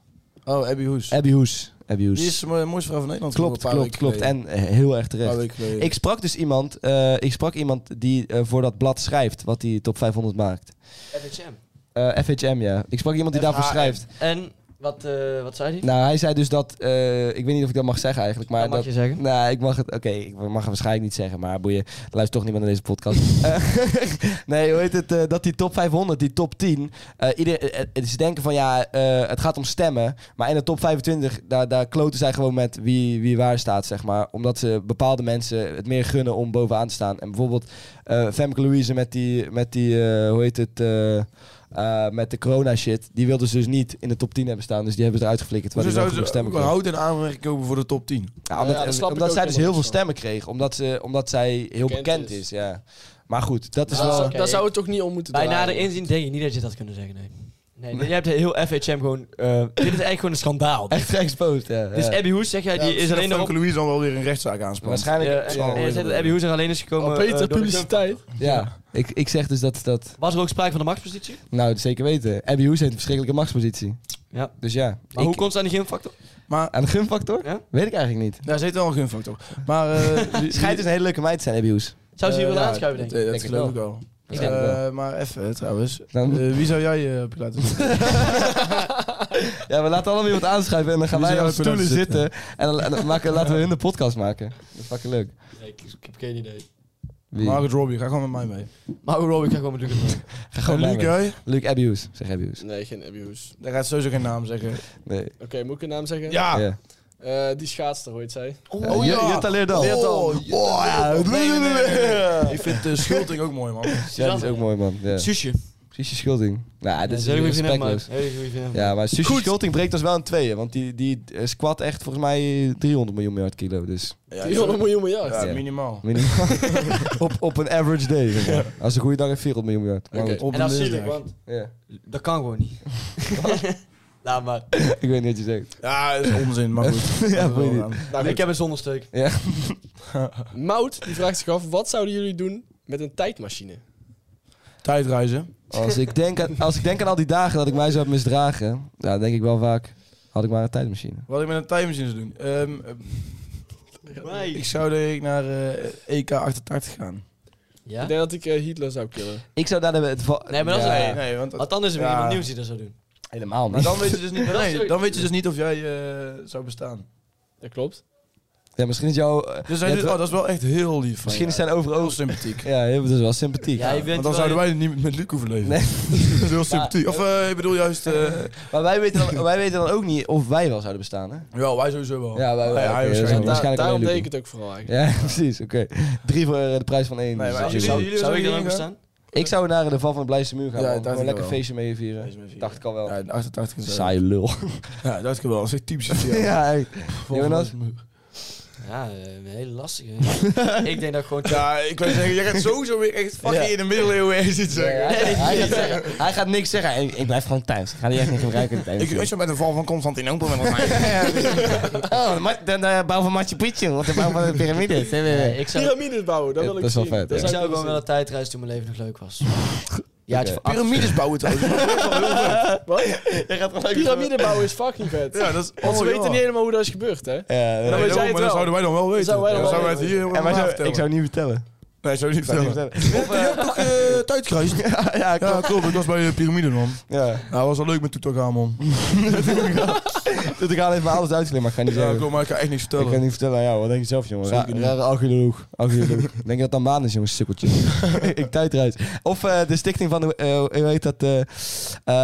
[SPEAKER 3] Oh, Abby Hoes.
[SPEAKER 2] Abby Hoes. Abby Hoes.
[SPEAKER 3] Die is de mo- mooiste vrouw van Nederland.
[SPEAKER 2] klopt,
[SPEAKER 3] geworden
[SPEAKER 2] klopt,
[SPEAKER 3] een
[SPEAKER 2] klopt.
[SPEAKER 3] paar
[SPEAKER 2] En
[SPEAKER 3] weken
[SPEAKER 2] eh, heel erg
[SPEAKER 3] geleden.
[SPEAKER 2] terecht.
[SPEAKER 3] Een paar weken geleden.
[SPEAKER 2] Ik sprak dus iemand, eh, ik sprak iemand die eh, voor dat blad schrijft, wat die top 500 maakt.
[SPEAKER 5] FHM.
[SPEAKER 2] Eh, FHM, ja. Ik sprak iemand die daarvoor schrijft.
[SPEAKER 5] En, wat, eh, wat zei hij?
[SPEAKER 2] Nou, hij zei dus dat, eh, ik weet niet of ik dat mag zeggen eigenlijk, maar
[SPEAKER 5] dat mag
[SPEAKER 2] dat,
[SPEAKER 5] je zeggen.
[SPEAKER 2] Nou, ik mag het. Oké, ik mag het waarschijnlijk niet zeggen, maar boeien. Luister toch niemand naar deze podcast. Eh, nee, hoe heet het? eh, dat die top 500, die top 10. eh, ieder, eh, eh, ze denken van ja, eh, het gaat om stemmen. Maar in de top 25, daar, daar kloten zij gewoon met wie, wie waar staat, zeg maar. Omdat ze bepaalde mensen het meer gunnen om bovenaan te staan. En bijvoorbeeld eh, Femke Louise met die, met die eh, hoe heet het? eh, eh, met de corona shit, die wilden ze dus niet in de top 10 hebben staan. Dus die hebben ze eruit geflikkerd.
[SPEAKER 3] Hoezo
[SPEAKER 2] terwijl die wel genoeg
[SPEAKER 3] zouden ze ook
[SPEAKER 2] stemmen
[SPEAKER 3] wel
[SPEAKER 2] kregen.
[SPEAKER 3] hout en aanmerking komen voor de top 10?
[SPEAKER 2] Ja,
[SPEAKER 4] Ja,
[SPEAKER 2] omdat,
[SPEAKER 4] ja, dat snap ik
[SPEAKER 2] omdat
[SPEAKER 4] ook
[SPEAKER 2] zij dus
[SPEAKER 4] helemaal
[SPEAKER 2] heel veel stemmen
[SPEAKER 4] niet zo.
[SPEAKER 2] kreeg. Omdat, ze, omdat zij heel bekend,
[SPEAKER 4] Bekend
[SPEAKER 2] is.
[SPEAKER 4] is.
[SPEAKER 2] ja. Maar goed, dat is
[SPEAKER 4] Ah,
[SPEAKER 2] wel...
[SPEAKER 5] oké.
[SPEAKER 4] Daar zou het toch niet om moeten
[SPEAKER 5] Bij
[SPEAKER 4] draaien.
[SPEAKER 5] nader inzien denk ik niet dat je dat had kunnen zeggen, nee. Nee, jij hebt heel FHM gewoon... eh, dit is eigenlijk gewoon een schandaal.
[SPEAKER 2] Echt geëxposed, ja.
[SPEAKER 5] Dus
[SPEAKER 2] ja.
[SPEAKER 5] Abby Hoes, zeg jij,
[SPEAKER 3] Ja,
[SPEAKER 5] die is alleen nog op...
[SPEAKER 3] Louise dan wel weer een rechtszaak aanspant.
[SPEAKER 2] Waarschijnlijk...
[SPEAKER 5] Ja, en- en je zegt dat Abby Hoes er alleen is gekomen...
[SPEAKER 4] Al
[SPEAKER 5] eh,
[SPEAKER 4] betere
[SPEAKER 5] door de
[SPEAKER 4] publiciteit.
[SPEAKER 2] ja, ik, ik zeg dus dat, dat...
[SPEAKER 5] Was er ook sprake van de machtspositie?
[SPEAKER 2] Nou, zeker weten. Abby Hoes heeft een verschrikkelijke machtspositie.
[SPEAKER 5] Ja.
[SPEAKER 2] Dus ja.
[SPEAKER 5] Maar
[SPEAKER 2] ik-
[SPEAKER 5] hoe komt ze aan die gunfactor?
[SPEAKER 3] Maar
[SPEAKER 2] Aan de gunfactor?
[SPEAKER 5] Ja?
[SPEAKER 2] Weet ik eigenlijk niet.
[SPEAKER 3] daar zit wel een gunfactor. Maar eh, die- die-
[SPEAKER 2] Het schijnt dus een hele leuke meid te zijn, Abby Hoes.
[SPEAKER 5] Zou ze hier
[SPEAKER 3] eh,
[SPEAKER 5] willen
[SPEAKER 3] ja,
[SPEAKER 5] aanschuiven, denk ik?
[SPEAKER 3] dat- eh,
[SPEAKER 2] Denk
[SPEAKER 3] Dat
[SPEAKER 2] ik
[SPEAKER 3] geloof ik wel.
[SPEAKER 2] Ik denk het
[SPEAKER 3] Eh,
[SPEAKER 2] wel.
[SPEAKER 3] Maar even eh, trouwens.
[SPEAKER 2] Dan-
[SPEAKER 3] Eh, wie zou jij eh, op je laten zitten?
[SPEAKER 2] Ja, we laten allemaal iemand aanschuiven en dan gaan
[SPEAKER 3] Wie
[SPEAKER 2] wij
[SPEAKER 3] zou
[SPEAKER 2] op
[SPEAKER 3] ik kunnen
[SPEAKER 2] stoelen zitten. En dan, en dan maken, laten we hun de podcast maken. Dat is fucking leuk.
[SPEAKER 4] Nee, ik, ik heb geen idee.
[SPEAKER 2] Wie?
[SPEAKER 3] Margaret Robbie, ga gewoon met mij mee.
[SPEAKER 5] Maar Robbie gaat gewoon met Lucas mee.
[SPEAKER 2] Ga gewoon
[SPEAKER 3] en
[SPEAKER 2] bij
[SPEAKER 3] Luc,
[SPEAKER 2] me.
[SPEAKER 3] jij?
[SPEAKER 2] Luc Abby Hoes. Zeg Abby Hoes.
[SPEAKER 4] Nee, geen abuse.
[SPEAKER 3] Daar gaat sowieso geen naam zeggen.
[SPEAKER 2] Nee.
[SPEAKER 4] Oké, moet ik een naam zeggen?
[SPEAKER 5] Ah.
[SPEAKER 3] Ja!
[SPEAKER 2] Ja.
[SPEAKER 4] Eh, die schaatster, hoe heet zij?
[SPEAKER 2] Oh, ja. Jutta Leerdam.
[SPEAKER 3] Oh, ja.
[SPEAKER 2] Oh,
[SPEAKER 3] Nee, nee, nee,
[SPEAKER 2] ja.
[SPEAKER 3] nee. Ik vind de schulting ook mooi, man.
[SPEAKER 2] Ja, dat is ook mooi, man. Ja.
[SPEAKER 5] Susje.
[SPEAKER 2] Sushi Schulting. Nou, dit is
[SPEAKER 5] Hele goede vriendin, man.
[SPEAKER 2] respectloos.
[SPEAKER 5] Hele goede vriendin.
[SPEAKER 2] Ja, maar Sushi
[SPEAKER 5] Goed.
[SPEAKER 2] Schulting breekt ons wel in tweeën. Want die, die eh, squat echt volgens mij 300 miljoen miljard kilo. Dus
[SPEAKER 3] Ja,
[SPEAKER 4] 400 miljoen miljard.
[SPEAKER 3] Ja, minimaal.
[SPEAKER 2] minimaal. op, op een average day. zeg maar. Als een goede dag heeft 400 miljoen miljard. Maar
[SPEAKER 4] Oké.
[SPEAKER 2] goed.
[SPEAKER 3] Op
[SPEAKER 5] En
[SPEAKER 3] de
[SPEAKER 5] dat is zielig,
[SPEAKER 3] dinsdag.
[SPEAKER 5] want
[SPEAKER 2] Ja.
[SPEAKER 5] dat kan gewoon niet. Laat maar.
[SPEAKER 2] Ik weet niet wat je zegt.
[SPEAKER 3] Ja, dat is onzin, maar
[SPEAKER 2] Ja,
[SPEAKER 3] goed. Dat is wel
[SPEAKER 2] weet
[SPEAKER 3] aan.
[SPEAKER 4] Nou,
[SPEAKER 5] Ik heb een zonnestuk.
[SPEAKER 4] Mout, die vraagt zich af, wat zouden jullie doen met een tijdmachine?
[SPEAKER 3] Tijdreizen.
[SPEAKER 2] Als ik, denk aan, als ik denk aan al die dagen dat ik mij zou hebben misdragen. Ja, dan denk ik wel vaak. Had ik maar een tijdmachine.
[SPEAKER 3] Wat ik met een tijdmachine zou doen. Ehm, eh, ik zou denk ik naar eh, EK 88 gaan.
[SPEAKER 5] Ja?
[SPEAKER 4] Ik denk dat ik eh, Hitler zou killen.
[SPEAKER 2] Ik zou daar de... het va-
[SPEAKER 5] Nee, maar dat is-
[SPEAKER 2] Ja,
[SPEAKER 5] nee,
[SPEAKER 3] nee, want dat-
[SPEAKER 5] Want anders is er weer
[SPEAKER 3] Ja.
[SPEAKER 5] iemand nieuws die dat zou doen.
[SPEAKER 2] helemaal niet.
[SPEAKER 3] maar dan weet je dus niet,
[SPEAKER 4] Dat is
[SPEAKER 3] nee,
[SPEAKER 4] ook-
[SPEAKER 3] dan weet je dus niet of jij eh, zou bestaan.
[SPEAKER 4] Dat klopt.
[SPEAKER 2] Ja, misschien is jouw... eh,
[SPEAKER 3] Dus
[SPEAKER 2] je hebt
[SPEAKER 3] hij doet-
[SPEAKER 2] wel-
[SPEAKER 3] oh, dat is wel echt heel lief van
[SPEAKER 2] misschien
[SPEAKER 3] je.
[SPEAKER 2] is zijn
[SPEAKER 3] heel
[SPEAKER 2] overoog...
[SPEAKER 3] sympathiek.
[SPEAKER 2] Ja, heel- dat is wel sympathiek.
[SPEAKER 5] Ja, je bent
[SPEAKER 3] Want
[SPEAKER 5] wel-
[SPEAKER 3] dan zouden wij niet met Luc hoeven leven.
[SPEAKER 2] Nee.
[SPEAKER 3] Dat is heel sympathiek. Of eh, ik bedoel juist... eh
[SPEAKER 2] Maar wij weten, dan, wij weten dan ook niet of wij wel zouden bestaan, hè?
[SPEAKER 3] ja, wij sowieso wel.
[SPEAKER 2] Ja, wij,
[SPEAKER 3] Ja,
[SPEAKER 2] wij-
[SPEAKER 3] ja,
[SPEAKER 2] oké,
[SPEAKER 3] hij
[SPEAKER 2] dat is
[SPEAKER 3] waarschijnlijk
[SPEAKER 2] waarschijnlijk
[SPEAKER 4] Daar- daarom
[SPEAKER 2] alleen
[SPEAKER 4] deed
[SPEAKER 2] Luc.
[SPEAKER 4] ik het ook vooral eigenlijk.
[SPEAKER 2] Ja, precies, oké. Drie voor eh, de prijs van één.
[SPEAKER 3] Nee,
[SPEAKER 2] Dus
[SPEAKER 3] maar
[SPEAKER 2] dat
[SPEAKER 3] jullie-
[SPEAKER 2] zou-
[SPEAKER 3] jullie-
[SPEAKER 5] Zou ik daar ook
[SPEAKER 3] Jullie-
[SPEAKER 5] bestaan?
[SPEAKER 2] ik zou naar de val van de blijste muur gaan.
[SPEAKER 3] Ja,
[SPEAKER 2] man.
[SPEAKER 3] dat
[SPEAKER 2] Gewoon
[SPEAKER 3] vind
[SPEAKER 2] een lekker
[SPEAKER 3] ik wel.
[SPEAKER 2] feestje mee vieren. Dacht ik al wel.
[SPEAKER 3] Ja, 88 is
[SPEAKER 2] Saaie lul.
[SPEAKER 3] Ja, dat kan wel. Dat is echt typisch. Ja.
[SPEAKER 2] Ja, echt. Jonas?
[SPEAKER 5] Ja, eh, een hele lastige. ik denk dat ik gewoon...
[SPEAKER 3] Ja, ik wil zeggen, jij gaat sowieso weer echt fucking in de middeleeuwen ergens iets zeggen.
[SPEAKER 2] Ja, hij- hij, gaat zeggen- hij gaat niks zeggen. Ik, ik blijf gewoon thuis. Ik ga die echt niet gebruiken.
[SPEAKER 3] Ik weet zo met de val van Constantinopel met ons
[SPEAKER 2] Oh, dan bouw van Machu Picchu. Want de bouw van de piramides.
[SPEAKER 5] Nee, ik zou,
[SPEAKER 4] Pyramides bouwen, dat
[SPEAKER 2] Ja,
[SPEAKER 4] wil ik
[SPEAKER 2] dat is wel
[SPEAKER 4] zien.
[SPEAKER 2] vet,
[SPEAKER 4] Dat
[SPEAKER 2] ja.
[SPEAKER 5] ik
[SPEAKER 4] zou
[SPEAKER 5] zou gewoon
[SPEAKER 4] ik
[SPEAKER 5] wel
[SPEAKER 4] willen
[SPEAKER 5] een tijd reizen toen mijn leven nog leuk was. Ja, het
[SPEAKER 2] Oké.
[SPEAKER 3] Pyramides bouwen trouwens.
[SPEAKER 4] zien. Wat? Piramide bouwen is fucking vet.
[SPEAKER 3] Ja, dat is...
[SPEAKER 4] Want ze
[SPEAKER 3] oh, ja.
[SPEAKER 4] weten niet helemaal hoe dat is gebeurd, hè?
[SPEAKER 2] Ja,
[SPEAKER 4] Dan
[SPEAKER 3] Nee,
[SPEAKER 4] weet jij
[SPEAKER 3] daarom,
[SPEAKER 4] het
[SPEAKER 3] maar
[SPEAKER 4] wel.
[SPEAKER 3] dat zouden wij dan wel weten.
[SPEAKER 4] zouden wij dan
[SPEAKER 3] Dan
[SPEAKER 4] wel
[SPEAKER 3] zouden wij het hier helemaal
[SPEAKER 2] maar
[SPEAKER 3] na
[SPEAKER 2] zou-
[SPEAKER 3] vertellen.
[SPEAKER 2] ik zou niet vertellen.
[SPEAKER 3] Nee, zou je niet vertellen.
[SPEAKER 2] Of,
[SPEAKER 3] toch uh, tijdkruis?
[SPEAKER 2] eh, ja,
[SPEAKER 3] Ja,
[SPEAKER 2] klopt.
[SPEAKER 3] klopt. Ik was bij de piramide, man.
[SPEAKER 2] Ja.
[SPEAKER 3] Nou, was wel leuk met Toetagamon.
[SPEAKER 2] Dus ik ga even alles uitleggen, maar ik ga niet
[SPEAKER 3] Ja,
[SPEAKER 2] zeggen.
[SPEAKER 3] klopt, maar ik kan echt niks
[SPEAKER 2] ik ga
[SPEAKER 3] vertellen.
[SPEAKER 2] niet vertellen aan jou. Wat denk je zelf, jongen? Ra
[SPEAKER 3] Zeker niet.
[SPEAKER 2] rare archeoloog. Archeoloog. denk je dat dan maan is, jongen? Sukkeltje. ik tijdreis. Of eh, de stichting van, de, eh, hoe heet dat? eh,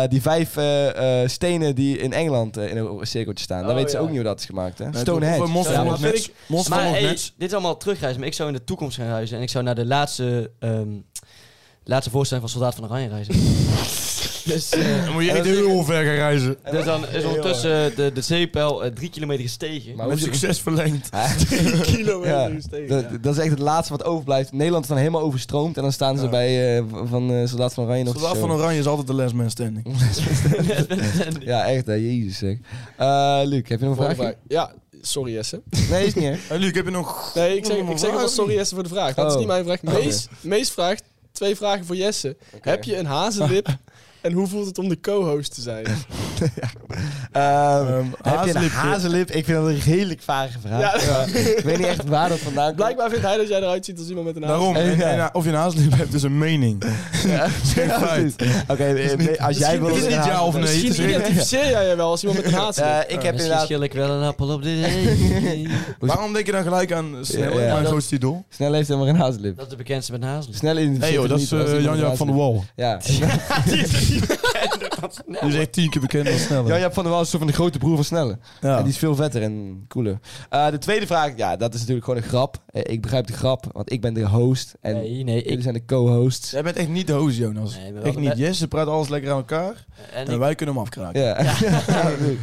[SPEAKER 2] eh, die vijf eh, eh, stenen die in Engeland eh, in een cirkeltje staan. Daar
[SPEAKER 4] Oh,
[SPEAKER 2] weten ze
[SPEAKER 4] ja.
[SPEAKER 2] ook niet hoe dat is gemaakt, hè?
[SPEAKER 3] Nee,
[SPEAKER 2] Stonehenge.
[SPEAKER 3] of een monster
[SPEAKER 5] Ja,
[SPEAKER 3] van
[SPEAKER 5] maar
[SPEAKER 3] ons
[SPEAKER 4] vind
[SPEAKER 3] net.
[SPEAKER 4] ik-
[SPEAKER 3] Monster
[SPEAKER 5] maar
[SPEAKER 3] van ons
[SPEAKER 5] hey,
[SPEAKER 3] net.
[SPEAKER 5] dit is allemaal terugreizen, maar ik zou in de toekomst gaan reizen. En ik zou naar de laatste, ehm, laatste voorstelling van Soldaat van Oranje reizen. dus, eh,
[SPEAKER 3] Dan moet je
[SPEAKER 2] En
[SPEAKER 3] echt
[SPEAKER 2] dat is-
[SPEAKER 3] heel ver gaan reizen.
[SPEAKER 5] dus dan is ondertussen eh, de, de zeepel eh, drie kilometer gestegen.
[SPEAKER 2] Maar
[SPEAKER 3] Met
[SPEAKER 2] hoe-
[SPEAKER 3] succes verlengd.
[SPEAKER 2] Ja,
[SPEAKER 4] Kilo
[SPEAKER 2] Ja.
[SPEAKER 4] en steken.
[SPEAKER 2] dat, dat is echt het laatste wat overblijft. Nederland is dan helemaal overstroomd. En dan staan ze
[SPEAKER 3] Ja.
[SPEAKER 2] bij eh, van eh Soldaat van Oranje nog
[SPEAKER 3] Soldaat
[SPEAKER 2] te
[SPEAKER 3] van
[SPEAKER 2] showen.
[SPEAKER 3] Oranje is altijd de last man standing.
[SPEAKER 2] Ja, echt hè. Jezus zeg. Eh, Luc, heb je nog een vraagje?
[SPEAKER 4] Ja, sorry Jesse.
[SPEAKER 2] Nee, is niet hè.
[SPEAKER 3] Hey, Luc, heb je nog...
[SPEAKER 4] Nee, ik zeg, ik zeg wel
[SPEAKER 3] Waarom
[SPEAKER 4] sorry Jesse voor de vraag. Dat is
[SPEAKER 2] Oh.
[SPEAKER 4] niet mijn vraag. Mees, Mees vraagt, twee vragen voor Jesse. Heb je een hazenlip en hoe voelt het om de co-host te zijn?
[SPEAKER 2] Ehm,
[SPEAKER 3] Ehm,
[SPEAKER 2] heb je een
[SPEAKER 3] hazenlipje.
[SPEAKER 2] hazenlip? Ik vind dat een redelijk vage vraag.
[SPEAKER 4] Ja.
[SPEAKER 2] Ja. Ik weet niet echt waar dat vandaan komt.
[SPEAKER 4] Blijkbaar vindt hij dat jij eruit ziet als iemand met een hazen.
[SPEAKER 3] Daarom. En, en, of je een hazelip hebt, is een mening.
[SPEAKER 2] Ja,
[SPEAKER 3] geen feit.
[SPEAKER 2] precies. Oké, eh, nee, als jij
[SPEAKER 3] Misschien
[SPEAKER 2] wil...
[SPEAKER 3] is het niet ja of nee. het is
[SPEAKER 4] Misschien
[SPEAKER 3] geen-
[SPEAKER 4] identificeer jij je wel als iemand met een hazenlip.
[SPEAKER 2] Eh, ik heb
[SPEAKER 5] Misschien
[SPEAKER 2] inderdaad...
[SPEAKER 5] schil ik wel een appel op de...
[SPEAKER 3] Waarom denk je dan gelijk aan Snel,
[SPEAKER 2] Ja, ja.
[SPEAKER 3] mijn
[SPEAKER 5] Dat-
[SPEAKER 3] grootste idool?
[SPEAKER 2] Snel heeft helemaal geen hazenlip.
[SPEAKER 5] Dat is de bekendste met Hazel.
[SPEAKER 2] Snel in
[SPEAKER 3] Nee joh, dat is eh, Jan-Jaap van der Wal.
[SPEAKER 2] Ja.
[SPEAKER 3] Die is echt tien keer bekender dan Snelle.
[SPEAKER 2] Jan-Jaap van der Wal is zo van de grote broer van Snelle.
[SPEAKER 3] Ja.
[SPEAKER 2] En die is veel vetter en cooler. Eh, de tweede vraag, ja, dat is natuurlijk gewoon een grap. Eh, ik begrijp de grap, want ik ben de host. En
[SPEAKER 5] Nee, nee,
[SPEAKER 2] jullie
[SPEAKER 5] ik...
[SPEAKER 2] zijn de co-hosts.
[SPEAKER 3] Jij bent echt niet de hoos, Jonas.
[SPEAKER 5] Nee, maar wel
[SPEAKER 3] Ik
[SPEAKER 5] de
[SPEAKER 3] niet.
[SPEAKER 5] be-
[SPEAKER 3] Jesse praat alles lekker aan elkaar.
[SPEAKER 5] En
[SPEAKER 3] En
[SPEAKER 5] ik
[SPEAKER 3] wij kunnen hem afkraken.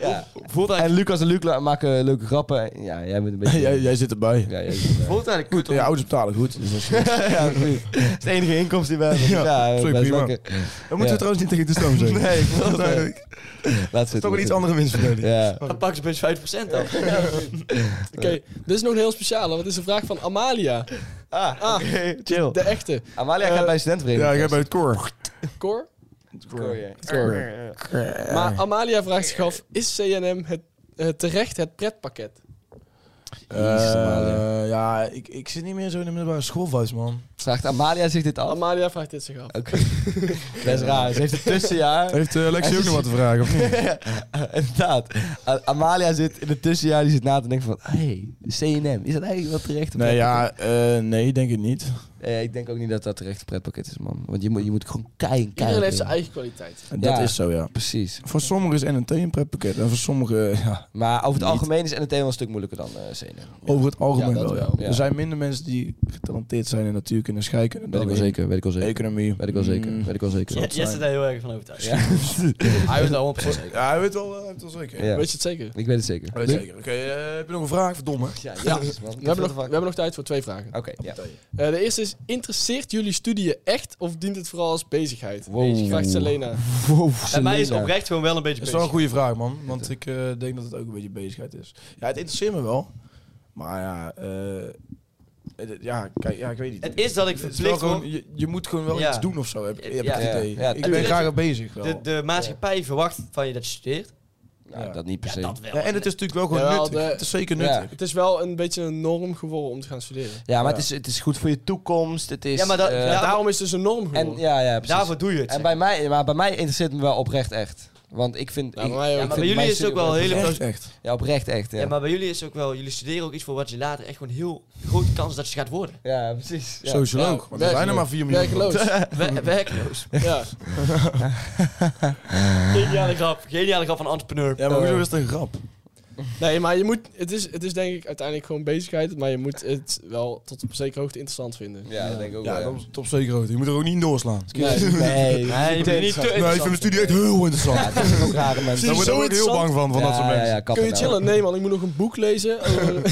[SPEAKER 2] Ja. Ja.
[SPEAKER 5] voelde
[SPEAKER 2] En
[SPEAKER 5] eigenlijk,
[SPEAKER 2] Lucas en Luc la- maken leuke grappen. Ja, jij bent een beetje...
[SPEAKER 3] jij, jij zit erbij.
[SPEAKER 2] Ja, jij bent, eh,
[SPEAKER 5] voelde eigenlijk
[SPEAKER 3] Goed,
[SPEAKER 5] goed.
[SPEAKER 3] en je ouders betalen goed. Dus dat is goed.
[SPEAKER 2] ja, precies. Dat is de enige inkomst die we hebben.
[SPEAKER 3] Ja,
[SPEAKER 2] Ja,
[SPEAKER 3] absoluut,
[SPEAKER 2] best
[SPEAKER 3] prima.
[SPEAKER 2] lekker.
[SPEAKER 3] Dan moeten we trouwens niet tegen de stroom zijn.
[SPEAKER 2] Nee, ik wil het
[SPEAKER 3] Nee,
[SPEAKER 2] eh,
[SPEAKER 3] ik-
[SPEAKER 2] Laat zitten.
[SPEAKER 3] Toch een iets andere winstverdeling.
[SPEAKER 2] Ja.
[SPEAKER 5] Dan pakken ze opeens 5% af.
[SPEAKER 4] Oké, dit is nog een heel speciale, want dit is een vraag van Amalia.
[SPEAKER 2] Ah, oké.
[SPEAKER 4] Ah,
[SPEAKER 2] Chill.
[SPEAKER 4] de echte.
[SPEAKER 2] Amalia
[SPEAKER 4] Eh,
[SPEAKER 2] gaat bij studentenvereniging.
[SPEAKER 3] Ja, ik heb bij het koor.
[SPEAKER 4] Cor?
[SPEAKER 2] Cool, ja. Eh.
[SPEAKER 4] Maar Amalia vraagt zich af, is CNM het, eh, terecht het pretpakket?
[SPEAKER 2] Jezus, Amalia.
[SPEAKER 3] Eh, ja, ik, ik zit niet meer zo in de middelbare schoolvuist, man.
[SPEAKER 2] Vraagt Amalia zich dit af?
[SPEAKER 4] Amalia vraagt dit zich af.
[SPEAKER 2] Oké. Best raar. Ze heeft een tussenjaar.
[SPEAKER 3] Heeft eh, Lexi ook nog wat te vragen, of niet?
[SPEAKER 2] Ja, Inderdaad. A- Amalia zit in het tussenjaar die zit na te denken van... Hé, hey, de CNM, is dat eigenlijk wel terecht? een
[SPEAKER 3] Nee,
[SPEAKER 2] pretpakket?
[SPEAKER 3] ja, eh, nee, denk ik niet.
[SPEAKER 2] Eh, ik denk ook niet dat dat terecht een pretpakket is, man. Want je moet, je moet gewoon keien, keien.
[SPEAKER 4] Iedereen heeft zijn eigen kwaliteit.
[SPEAKER 3] Dat
[SPEAKER 2] Ja.
[SPEAKER 3] is zo, ja.
[SPEAKER 2] Precies.
[SPEAKER 3] Voor sommigen is NNT een pretpakket. En voor sommigen, eh, ja,
[SPEAKER 2] Maar over het
[SPEAKER 3] Niet.
[SPEAKER 2] algemeen is NT wel een stuk moeilijker dan eh CNM.
[SPEAKER 3] over het
[SPEAKER 2] Ja,
[SPEAKER 3] algemeen
[SPEAKER 2] dat
[SPEAKER 3] wel, ja.
[SPEAKER 2] wel, ja.
[SPEAKER 3] Er zijn minder mensen die getalenteerd zijn in natuurkunde, scheikunde.
[SPEAKER 2] Weet ik wel zeker, weet ik wel zeker.
[SPEAKER 3] Economie.
[SPEAKER 2] Weet ik wel zeker,
[SPEAKER 3] Mm.
[SPEAKER 2] weet ik wel zeker.
[SPEAKER 5] Jesse is daar heel erg van overtuigd.
[SPEAKER 2] Ja.
[SPEAKER 5] Hij was daar 100% zeker.
[SPEAKER 3] Ja, hij weet wel, hij weet wel zeker.
[SPEAKER 2] Ja.
[SPEAKER 4] Weet je het zeker?
[SPEAKER 2] Ik weet het zeker.
[SPEAKER 3] Hij weet
[SPEAKER 2] Luc?
[SPEAKER 3] zeker. Oké, eh, heb je nog een vraag? Verdomme.
[SPEAKER 2] Ja,
[SPEAKER 4] Ja.
[SPEAKER 2] jezus, man.
[SPEAKER 4] We hebben, nog, we hebben nog tijd voor twee vragen.
[SPEAKER 2] Oké, ja.
[SPEAKER 4] Eh, de eerste is, interesseert jullie studie je echt of dient het vooral als bezigheid?
[SPEAKER 2] Wow.
[SPEAKER 4] Deze vraagt Selena.
[SPEAKER 2] Wow,
[SPEAKER 5] En mij is
[SPEAKER 2] Selena.
[SPEAKER 5] oprecht gewoon wel een beetje
[SPEAKER 3] Dat is wel een
[SPEAKER 5] bezig.
[SPEAKER 3] goede vraag, man. Want ik eh, denk dat het ook een beetje bezigheid is. Ja, het interesseert me wel. Maar ja, eh, het- ja, kijk, ja, ik weet niet.
[SPEAKER 5] Het is dat ik
[SPEAKER 3] Het is wel
[SPEAKER 5] verplicht word.
[SPEAKER 3] gewoon, je, je moet gewoon wel
[SPEAKER 5] Ja.
[SPEAKER 3] iets doen of zo, heb, heb ik
[SPEAKER 5] Ja.
[SPEAKER 3] het idee.
[SPEAKER 2] Ja, ja,
[SPEAKER 3] ik ben
[SPEAKER 5] tuurlijk.
[SPEAKER 3] graag bezig wel.
[SPEAKER 5] De, de maatschappij verwacht van je dat je studeert.
[SPEAKER 2] Nou, dat niet per se.
[SPEAKER 5] Dat wel.
[SPEAKER 3] Ja, en het is natuurlijk wel gewoon
[SPEAKER 4] Jawel,
[SPEAKER 3] nuttig.
[SPEAKER 4] de-
[SPEAKER 3] Het is zeker
[SPEAKER 2] Ja.
[SPEAKER 3] nuttig.
[SPEAKER 4] Het is wel een beetje een norm geworden om te gaan studeren.
[SPEAKER 2] Ja, maar Het, is, het is goed voor je toekomst. Het is,
[SPEAKER 5] Ja, maar dat-
[SPEAKER 2] eh,
[SPEAKER 5] Ja,
[SPEAKER 4] Daarom is het dus een norm geworden.
[SPEAKER 2] en, ja, ja, precies.
[SPEAKER 5] Daarvoor doe je het.
[SPEAKER 2] En bij mij, maar bij mij interesseert het me wel oprecht echt. Want ik vind...
[SPEAKER 4] Nou,
[SPEAKER 2] ik-
[SPEAKER 4] bij mij
[SPEAKER 2] ik
[SPEAKER 4] ook. Ja,
[SPEAKER 2] vind
[SPEAKER 5] bij
[SPEAKER 4] maar
[SPEAKER 5] jullie
[SPEAKER 2] mijn
[SPEAKER 5] is het ook
[SPEAKER 2] studie-
[SPEAKER 5] wel hele
[SPEAKER 3] Echt, echt.
[SPEAKER 2] Ja, oprecht echt, ja.
[SPEAKER 5] Ja, maar bij jullie is ook wel, jullie studeren ook iets voor wat je later echt gewoon heel grote kans dat je gaat worden.
[SPEAKER 2] Ja, precies. Ja.
[SPEAKER 3] Social
[SPEAKER 4] Ja,
[SPEAKER 3] ook. Want er zijn er
[SPEAKER 4] werkloos.
[SPEAKER 3] maar 4 miljoen.
[SPEAKER 4] Werkloos.
[SPEAKER 5] We- Werkloos.
[SPEAKER 4] Ja.
[SPEAKER 5] Geniale grap. Geniale grap van een entrepreneur.
[SPEAKER 3] Ja, maar hoezo is het een grap?
[SPEAKER 4] Nee, maar je moet, het, is, het is denk ik uiteindelijk gewoon bezigheid, maar je moet het wel tot op zekere hoogte interessant vinden.
[SPEAKER 2] Ja, dat denk ik ook
[SPEAKER 3] Ja,
[SPEAKER 2] wel,
[SPEAKER 3] dat is top zeker groot. Je moet er ook niet in doorslaan.
[SPEAKER 4] Nee.
[SPEAKER 2] Nee,
[SPEAKER 5] Nee, je bent niet te
[SPEAKER 3] Nee, ik vind
[SPEAKER 5] interessant.
[SPEAKER 3] mijn studie echt heel
[SPEAKER 2] Ja,
[SPEAKER 3] interessant.
[SPEAKER 2] het is ook rare mensen.
[SPEAKER 1] Daar
[SPEAKER 4] Zo
[SPEAKER 1] word ik ook heel
[SPEAKER 4] interessant.
[SPEAKER 1] bang van, van dat soort
[SPEAKER 2] Ja, ja,
[SPEAKER 1] mensen.
[SPEAKER 2] ja, kappen
[SPEAKER 4] Kun je
[SPEAKER 2] nou.
[SPEAKER 4] chillen? Nee man, ik moet nog een boek lezen. over-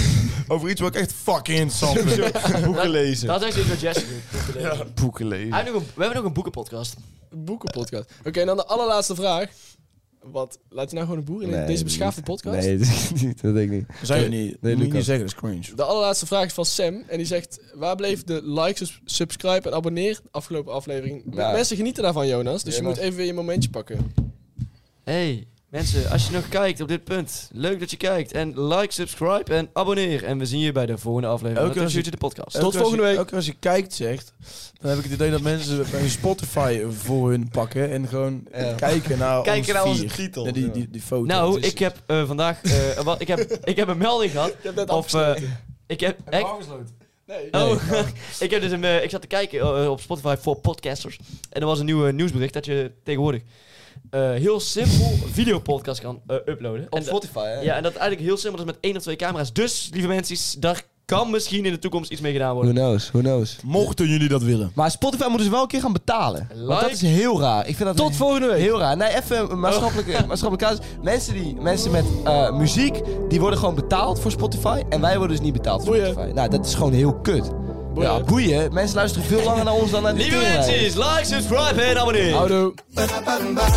[SPEAKER 1] Over iets wat ik echt fucking interessant vind.
[SPEAKER 3] Boeken lezen.
[SPEAKER 5] Dat is echt wat Jesse doet.
[SPEAKER 3] Boeken
[SPEAKER 5] Hij
[SPEAKER 3] lezen.
[SPEAKER 5] heeft nog een- We hebben nog een boekenpodcast.
[SPEAKER 4] Een boekenpodcast. Oké, en dan de allerlaatste vraag. Wat, laten we nou gewoon een boer in
[SPEAKER 2] Nee,
[SPEAKER 4] deze
[SPEAKER 2] niet.
[SPEAKER 4] beschaafde podcast?
[SPEAKER 2] Nee, dat denk ik niet. Dat denk ik niet.
[SPEAKER 3] Dat zou je niet,
[SPEAKER 2] Nee,
[SPEAKER 3] moet je
[SPEAKER 2] Lucas.
[SPEAKER 3] niet zeggen, dat is cringe.
[SPEAKER 4] De allerlaatste vraag is van Sam. En die zegt, waar bleef de like, sus- subscribe en abonneer afgelopen aflevering?
[SPEAKER 2] Ja.
[SPEAKER 4] Mensen genieten daarvan, Jonas. Dus
[SPEAKER 2] Jonas.
[SPEAKER 4] je moet even weer je momentje pakken.
[SPEAKER 5] Hey mensen, als je nog kijkt op dit punt, leuk dat je kijkt. En like, subscribe en abonneer. En we zien je bij de volgende aflevering
[SPEAKER 3] Ook
[SPEAKER 5] van
[SPEAKER 3] als je-
[SPEAKER 5] Future de podcast.
[SPEAKER 4] Tot
[SPEAKER 3] Elke
[SPEAKER 4] volgende
[SPEAKER 3] als je-
[SPEAKER 4] week.
[SPEAKER 3] Elke als je kijkt, zegt, dan heb ik het idee dat mensen bij Spotify voor hun pakken en gewoon
[SPEAKER 2] Ja.
[SPEAKER 3] kijken naar
[SPEAKER 5] Kijken
[SPEAKER 3] ons
[SPEAKER 5] naar onze
[SPEAKER 3] vier.
[SPEAKER 5] titel.
[SPEAKER 3] Naar die, die, die foto.
[SPEAKER 5] Nou,
[SPEAKER 3] Het is-
[SPEAKER 5] ik heb eh, vandaag eh, wat, ik heb, ik heb een melding gehad.
[SPEAKER 4] Ik heb net
[SPEAKER 5] Of, eh, ik heb, ik,
[SPEAKER 4] Nee.
[SPEAKER 5] Oh, ik, heb dus een, eh, ik zat te kijken eh, op Spotify voor podcasters. En er was een nieuw eh, nieuwsbericht dat je tegenwoordig eh, heel simpel een videopodcast kan eh, uploaden.
[SPEAKER 2] Op
[SPEAKER 5] en,
[SPEAKER 2] Spotify, hè?
[SPEAKER 5] Ja, en dat eigenlijk heel simpel is met één of twee camera's. Dus, lieve mensen, daar kan misschien in de toekomst iets mee gedaan
[SPEAKER 2] Who
[SPEAKER 5] worden.
[SPEAKER 2] knows, who knows.
[SPEAKER 3] Mochten jullie dat willen.
[SPEAKER 2] Maar Spotify moeten ze wel een keer gaan betalen. Want dat
[SPEAKER 5] Like.
[SPEAKER 2] is heel raar. Ik vind dat
[SPEAKER 5] Tot volgende week.
[SPEAKER 2] Heel raar. Nee, even een maatschappelijke, maatschappelijke casus. Mensen, die, mensen met eh, muziek, die worden gewoon betaald voor Spotify. En wij worden dus niet betaald voor
[SPEAKER 4] Boeien.
[SPEAKER 2] Spotify. Nou, dat is gewoon heel kut.
[SPEAKER 4] Boeien.
[SPEAKER 2] Ja, boeien. Mensen luisteren veel langer naar ons dan naar de
[SPEAKER 5] Lieve
[SPEAKER 2] teringlijst.
[SPEAKER 5] mensen, like, subscribe en abonneer.
[SPEAKER 4] Houdoe.